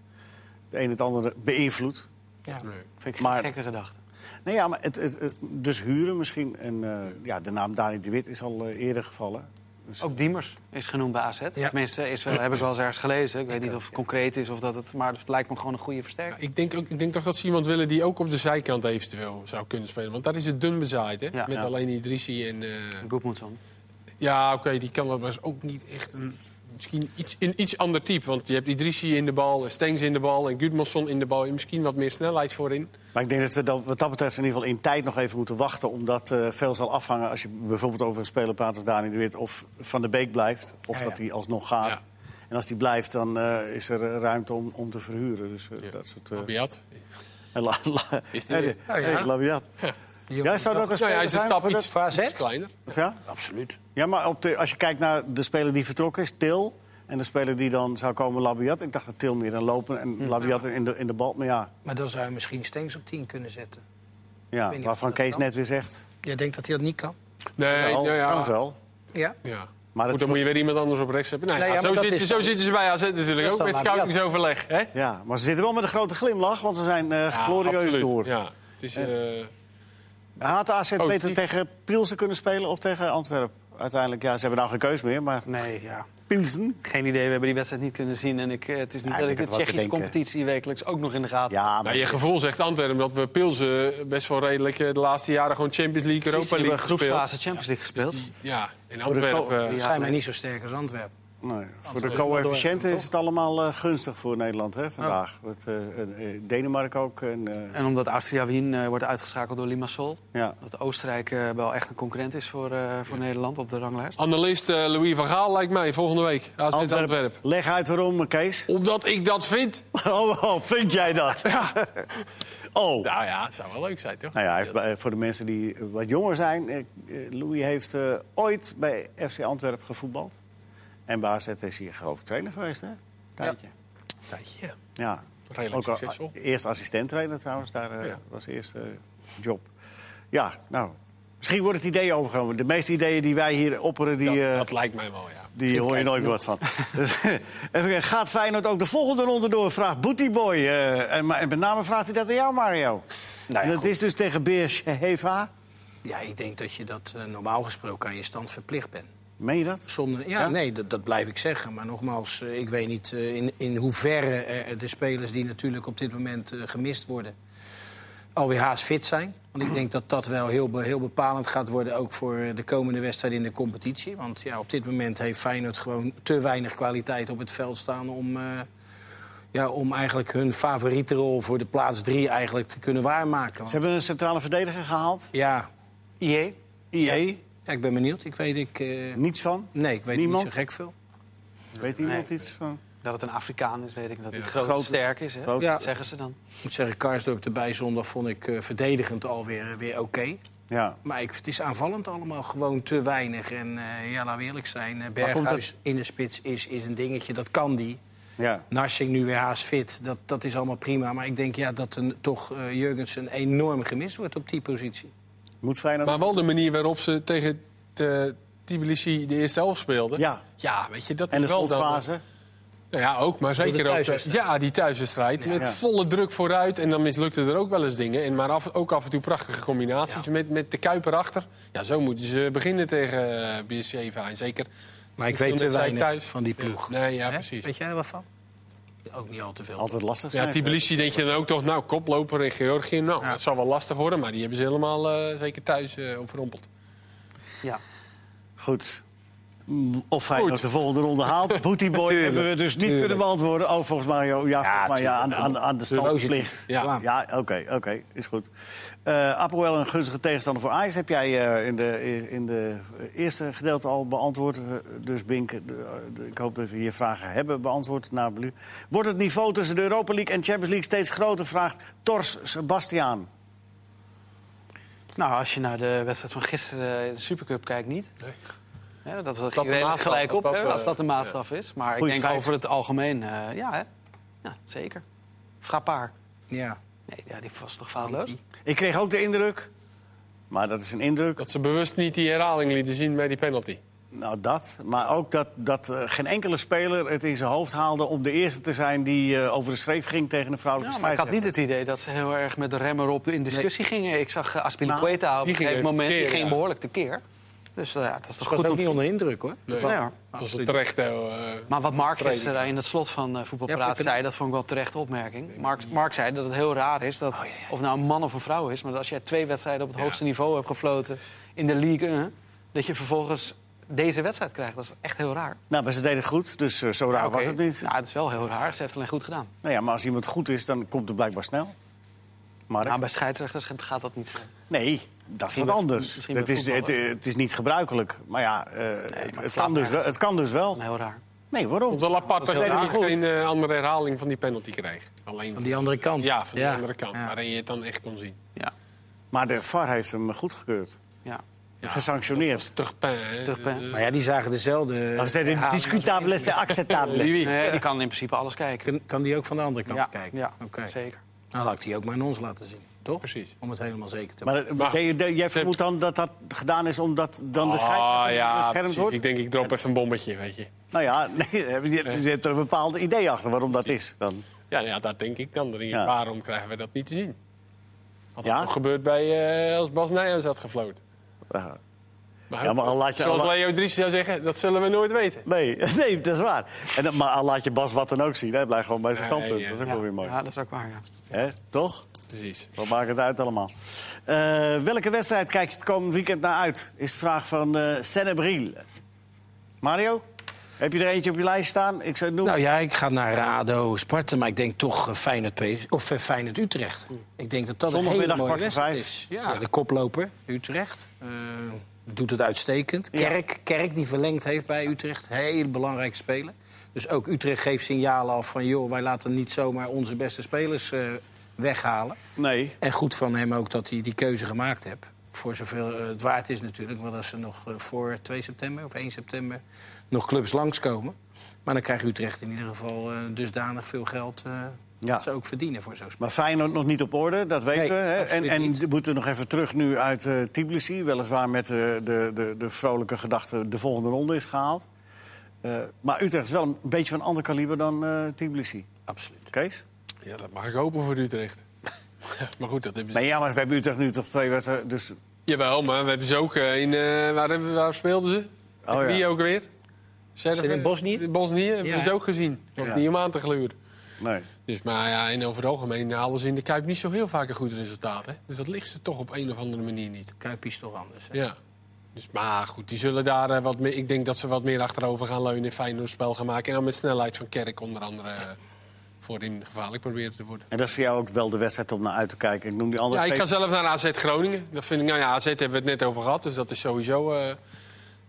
A: de een het andere beïnvloedt.
D: Ja.
B: Vind ik
A: Maar-
B: een gekke gedachte.
A: Nee, ja, maar het, het, het- dus huren misschien. En eh, ja, de naam Dani de Wit is al eh, eerder gevallen.
B: Ook Diemers is genoemd bij AZ.
D: Ja.
B: Tenminste, is, wel- heb ik wel eens ergens gelezen. Ik weet niet of het concreet is of dat het... Maar het lijkt me gewoon een goede versterking.
C: Ik denk, ook, ik denk toch dat ze iemand willen die ook op de zijkant eventueel zou kunnen spelen. Want daar is het dun bezaaid, hè?
B: Ja.
C: Met
A: Ja.
C: alleen Idrissi en... eh,
B: Goedmoedson.
C: Ja, oké, die kan dat, maar is ook niet echt een... Misschien iets, een iets ander type, want je hebt Idrissi in de bal, en Stengs in de bal en Gudmansson in de bal. En misschien wat meer snelheid voorin.
A: Maar ik denk dat we dan, wat dat betreft in ieder geval in tijd nog even moeten wachten. Omdat eh, veel zal afhangen als je bijvoorbeeld over een speler praat als Dani de Wit. Of Van de Beek blijft. Of
D: Ja, ja.
A: dat hij alsnog gaat.
C: Ja.
A: En als die blijft, dan eh, is er eh, ruimte om, om te verhuren. Dus eh,
C: Ja.
A: dat soort... eh,
C: Abiat.
A: en la- la-
C: Is die
A: Hey,
C: weer?
A: hey,
D: ja.
A: Labiat. Jij zou dat een
C: Nou ja,
A: speler
C: hij is een
A: zijn
C: stap
A: voor de-
C: iets,
D: voor AZ?
C: iets kleiner.
A: Of Ja?
D: Absoluut.
A: Ja, maar op de, als je kijkt naar de speler die vertrokken is, Til. En de speler die dan zou komen, Labiat. Ik dacht dat Til meer dan lopen en
D: Hm.
A: Labiat in de, in de bal. Maar ja,
D: Maar dan zou je misschien Stengs op 10 kunnen zetten. weet
A: ja
D: niet
A: waarvan
D: of dat
A: Kees
D: kan.
A: net weer zegt.
D: Jij denkt dat hij dat niet kan?
C: Nee,
A: wel,
C: nou
A: kan
C: ja.
A: het wel.
D: Ja.
C: ja.
A: Maar dat
C: Goed, dan moet je weer iemand anders op rechts hebben. Nee,
D: Nee,
C: ja,
D: ja,
C: zo,
D: maar dat
C: zitten-
D: is
C: zo
D: dan-
C: zitten ze bij AZ natuurlijk ook,
D: dan
C: met
D: Abiat.
C: scoutingsoverleg. Hè?
A: Ja, maar ze zitten wel met een grote glimlach, want ze zijn eh
C: Ja,
A: glorieus
C: absoluut.
A: door.
C: Ja, het is, eh,
A: Had AZ
C: Oh,
A: beter
C: die-
A: tegen Pilsen kunnen spelen of tegen Antwerpen? Uiteindelijk, ja, ze hebben nou geen keus meer, maar
B: Nee, ja.
A: Pilsen.
B: Geen idee, we hebben die wedstrijd niet kunnen zien. En ik, eh, het is niet
A: Ja, ik
B: dat ik
A: denk
B: de
A: dat we wat
B: Tsjechische
A: bedenken.
B: competitie wekelijks ook nog in de gaten
A: Ja, maar
C: nou, je gevoel zegt Antwerpen dat we Pilsen best wel redelijk eh, de laatste jaren gewoon Champions League,
B: Precies,
C: Europa
B: die
C: League
B: hebben
C: gespeeld.
B: groepsfase Champions League gespeeld.
C: Ja, in
A: Voor de
C: Antwerpen. eh,
B: Ja,
D: Schijnbaar
B: nee.
D: niet zo sterk als Antwerpen.
A: nee, voor de
C: wel door,
A: coëfficiënten is het allemaal eh, gunstig voor Nederland hè, vandaag. Met, eh, eh, Denemarken ook. En, eh,
B: En omdat Austria Wien eh, wordt uitgeschakeld door Limassol.
A: ja.
B: Dat Oostenrijk eh, wel echt een concurrent is voor, eh, voor Nederland op de ranglijst.
C: Analist eh, Louis van Gaal lijkt mij volgende week. AZ Antwerpen.
A: Leg uit waarom, Kees.
C: Omdat ik dat vind.
A: Oh, oh, vind jij dat? Oh.
C: Nou ja, het zou wel leuk zijn, toch?
A: Nou ja, hij heeft bij- voor de mensen die eh, wat jonger zijn... eh, eh, Louis heeft eh, ooit bij FC Antwerpen gevoetbald. En bij AZ is hij hoofdtrainer geweest, hè? Tijdje.
C: Tijdje.
A: Ja.
C: Redelijk
A: al- eh,
C: succesvol.
A: eerst assistent-trainer trouwens. Daar eh,
C: Ja.
A: was de eerste eh, job. Ja, nou... Misschien wordt het idee overgenomen. De meeste ideeën die wij hier opperen, die,
C: Dat,
A: eh,
C: dat lijkt mij wel, ja.
A: die hoor je nooit meer wat van. Dus, even kijken, gaat Feyenoord ook de volgende ronde door? Vraagt Bootyboy. eh en, maar- en met name vraagt hij dat aan jou, Mario.
D: Nou ja,
A: dat
D: goed.
A: is dus tegen Beers Heva.
D: Ja, ik denk dat je dat eh, normaal gesproken aan je stand verplicht bent.
A: Meen je dat?
D: Zonder, ja,
A: Ja?
D: nee, dat, dat blijf ik zeggen. Maar nogmaals, eh, ik weet niet eh, in, in hoeverre eh, de spelers die natuurlijk op dit moment eh, gemist worden... alweer haast fit zijn. Want ik denk dat dat wel heel, be- heel bepalend gaat worden... ook voor eh, de komende wedstrijd in de competitie. Want ja, op dit moment heeft Feyenoord gewoon te weinig kwaliteit op het veld staan... om, eh, ja, om eigenlijk hun favoriete rol voor de plaats drie eigenlijk te kunnen waarmaken.
A: Ze
D: Want-
A: hebben een centrale verdediger gehaald.
D: ja,
B: IE?
A: IE,
D: ja, ik ben benieuwd. Ik weet ik, eh,
A: niets van.
D: nee, ik weet
A: Niemand?
D: niet zo gek veel.
A: Weet iemand iets van?
B: Dat het een Afrikaan is, weet ik. Dat hij
C: Ja.
B: groot
A: Groot.
B: en sterk is, hè?
A: Groot.
D: Ja.
B: Dat zeggen ze dan.
D: Ik moet zeggen, Karsdorp erbij zondag vond ik eh, verdedigend alweer eh, weer oké.
A: Ja.
D: Maar ik, het is aanvallend allemaal gewoon te weinig. En eh, ja, laten we eerlijk zijn, eh,
A: komt
D: Berghuis in de spits is, is een dingetje, dat kan die.
A: ja.
D: Narsing nu weer haast fit, dat, dat is allemaal prima. Maar ik denk ja, dat een, toch eh, Jurgensen enorm gemist wordt op die positie.
A: Moet Feyenoord...
C: Maar wel de manier waarop ze tegen eh, Tbilisi de eerste helft speelden.
A: Ja.
C: Ja, weet je, dat
A: En de
C: is wel dan...
A: slotfase.
C: Nou ja, ook, maar
D: de
C: zeker ook... eh,
D: thuiswedstrijd.
C: Ja, die thuiswedstrijd. Met
A: Ja.
C: volle druk vooruit. En dan mislukte er ook wel eens dingen. En maar af, ook af en toe prachtige combinaties met, met de Kuiper achter. Ja, zo moeten ze beginnen tegen eh BSC En zeker...
D: Maar ik
C: toen
D: weet te
C: het zij
D: weinig
C: thuis-
D: van die ploeg.
C: Nee, ja,
D: Hè?
C: precies.
D: Weet jij er wat van? Ook niet al te veel.
A: Altijd lastig zijn.
C: Ja, Tbilisi denk je dan ook toch, nou, koploper in Georgië. Nou, dat zal wel lastig worden, maar die hebben ze helemaal eh, zeker thuis eh, overrompeld.
B: Ja.
A: Goed. Mm, Of Feyenoord de volgende ronde haalt. Bootyboy hebben we dus niet
D: tuurlijk.
A: kunnen beantwoorden. Oh, volgens Mario. Ja, volgens mij, ja aan, aan, aan de
D: Positief.
A: standplicht.
C: Ja.
D: Ja.
A: Ja, oké, oké, is goed. Eh Apoel, een gunstige tegenstander voor Ajax. Heb jij eh, in de, in de eerste gedeelte al beantwoord. Eh, Dus Bink, eh, de- ik hoop dat we hier vragen hebben beantwoord. Naar Belu. Wordt het niveau tussen de Europa League en Champions League steeds groter? Vraagt Tors Sebastiaan.
B: Nou, als je naar de wedstrijd van gisteren eh, in de Supercup kijkt, niet.
C: Nee.
B: Hè, dat was
C: de maatstaf?
B: gelijk
C: Als
B: op,
C: dat,
B: hè,
C: eh,
B: als dat de maatstaf is. Maar
A: Goeie
B: ik denk
A: scheids.
B: over het algemeen, eh, ja, hè? ja, zeker. Frappaar.
D: Ja.
B: Nee, ja, die was toch foutloos?
A: Ik kreeg ook de indruk, maar dat is een indruk.
C: Dat ze bewust niet die herhaling lieten zien bij die penalty.
A: Nou, dat. Maar ook dat, dat eh, geen enkele speler het in zijn hoofd haalde om de eerste te zijn die eh, over de schreef ging tegen een vrouwelijke
B: Ja, maar ik had niet
A: scheidsrechter.
B: het idee dat ze heel erg met de remmer op in discussie gingen. Ik zag eh, Aspilicueta op
C: die
B: een
C: ging
B: gegeven
C: even
B: moment.
C: tekeer,
B: die ging
C: ja.
B: behoorlijk tekeer. Dus eh, ja, dat is toch
D: Ik was
B: goed
D: ook
B: om
D: niet onder indruk, hoor.
C: Nee.
B: Nee, hoor.
C: Dat was een terechte... eh,
B: Maar wat Mark
C: Training.
B: gisteren in het slot van eh,
D: Ja,
B: Voetbalpraat
D: vond ik het-
B: zei, dat vond ik wel een terechte opmerking. Mark, Mark zei dat het heel raar is, dat, of nou een man of een vrouw is... maar dat als jij twee wedstrijden op het hoogste niveau hebt gefloten in de league... eh, dat je vervolgens deze wedstrijd krijgt. Dat is echt heel raar.
A: Nou, maar ze deden het goed, dus eh, zo raar
B: Oké.
A: was het niet.
B: Nou, het is wel heel raar. Ze heeft alleen goed gedaan.
A: Nou ja, maar als iemand goed is, dan komt het blijkbaar snel. Maar
B: Maar Nou, bij scheidsrechters gaat dat niet zo.
A: nee, dat is wat
B: Misschien bij-
A: anders.
B: misschien
A: Het
B: bij
A: is, het,
B: voetballers.
A: het is niet gebruikelijk. Maar ja, eh, het, het
B: slaat
A: kan dus wel,
B: nergens
A: het kan dus wel.
B: Heel raar.
A: Nee, waarom?
C: vond het wel apart
A: Dat
C: dat je
A: deden we
C: niet
A: goed.
C: geen eh, andere herhaling van die penalty kreeg. Alleen
D: Van die andere kant.
C: Ja, van die
D: Ja.
C: andere kant.
D: Ja.
C: Waarin je het dan echt kon zien.
B: Ja.
A: Maar de VAR heeft hem goedgekeurd.
B: ja.
C: Ja,
A: Gesanctioneerd.
C: Tug pen, hè.
B: Tug pen.
C: Eh,
D: Maar ja, die zagen dezelfde...
A: Maar we zeiden
D: herhaling.
A: discutabele is acceptabele.
C: Wie, wie?
B: Nee, die kan in principe alles kijken.
D: Kan- Kan die ook van de andere kant
B: Ja,
D: kijken?
B: ja
D: Oké.
B: zeker.
D: Nou, laat ik die ook maar in ons laten zien, toch?
C: Precies.
D: Om het helemaal zeker te maken.
A: Maar, eh,
C: Maar-
A: jij- jij- jij vermoedt dan dat dat gedaan is omdat dan de scheidsrechter
C: Ah, Oh, ja,
A: beschermd
C: precies.
A: wordt?
C: Ik denk, ik drop even een bommetje, weet je.
A: Nou ja, nee, heb je, je hebt er een bepaald idee achter waarom dat is. Dan.
C: Ja, ja dat denk ik dan. erin.
A: Ja.
C: Waarom krijgen we dat niet te zien? Had
A: Ja?
C: dat nog gebeurd bij, eh als Bas Nijhuis had gefloten.
A: Ja.
C: Maar,
A: Ja, maar al laat je-
C: zoals
A: al laat-
C: Leo Dries zou zeggen, dat zullen we nooit weten.
A: Nee, nee, dat is waar. En, dan- maar al laat je Bas wat dan ook zien. Hij blijft gewoon bij zijn
C: Nee,
A: standpunt.
C: ja.
A: Dat is ook
B: Ja.
A: wel weer mooi.
B: Ja, dat is ook waar, ja.
A: Hè? Toch?
C: Precies.
A: Wat maakt het uit allemaal? Eh, welke wedstrijd kijk je het komend weekend naar uit? Is de vraag van eh Senebril. Mario, heb je er eentje op je lijst staan? Ik zou het noemen.
D: Nou ja, ik ga naar Rado, Sparta, maar ik denk toch eh, Feyenoord, PSV of eh, Feyenoord Utrecht.
B: Mm.
D: Ik denk dat dat een hele
A: Zondagmiddag
D: mooie
A: kwart voor
D: wedstrijd
A: vijf.
D: is. Ja, de koploper Utrecht eh, doet het uitstekend.
A: Ja.
D: Kerk, Kerk die verlengd heeft bij Utrecht, heel belangrijke speler. Dus ook Utrecht geeft signalen af van joh, wij laten niet zomaar onze beste spelers eh, weghalen.
B: Nou,
A: Nee.
D: En goed van hem ook dat hij die keuze gemaakt heeft. Voor zoveel eh, het waard is natuurlijk. Want als er nog eh, voor 2 september of 1 september nog clubs langskomen. Maar dan krijgt Utrecht in ieder geval eh, dusdanig veel geld. eh,
A: Ja.
D: dat ze ook verdienen voor zo'n spel.
A: Maar Feyenoord nog niet op orde, dat weten
D: Nee,
A: we. Hè? En,
D: absoluut
A: en
D: niet.
A: we moeten nog even terug nu uit eh Tbilisi. Weliswaar met eh, de, de, de vrolijke gedachte de volgende ronde is gehaald. Eh, maar Utrecht is wel een beetje van een ander kaliber dan eh Tbilisi.
D: Absoluut.
A: Kees?
C: Ja, dat mag ik hopen voor Utrecht. maar goed, dat hebben ze...
A: Nee, ja, maar we hebben Utrecht nu toch twee wedstrijden. Dus
C: Jawel, maar we hebben ze ook eh, in... eh, waar, hebben, we- waar speelden ze?
A: ja.
C: Wie ook weer? Serven-
D: in Bosnië?
C: In Bosnië hebben
D: Ja.
C: we ze ook gezien. Dat was
A: Ja.
C: niet om aan te gluren.
A: nee.
C: Dus, maar ja, en over het algemeen halen ze in de Kuip niet zo heel vaak een goed resultaat. Hè? Dus dat ligt ze toch op een of andere manier niet.
D: Kuipie is toch anders. hè?
C: Ja. Dus, maar goed, die zullen daar eh, wat meer... Ik denk dat ze wat meer achterover gaan leunen en Feyenoord spel gaan maken. En dan met snelheid van Kerk onder andere eh, voorin gevaarlijk proberen te worden.
A: En dat is voor jou ook wel de wedstrijd om naar uit te kijken. Ik noem die andere
C: Ja, ik
A: twee-
C: ga zelf naar AZ Groningen. Dat vind ik, nou ja, AZ hebben we het net over gehad. Dus dat is sowieso... eh,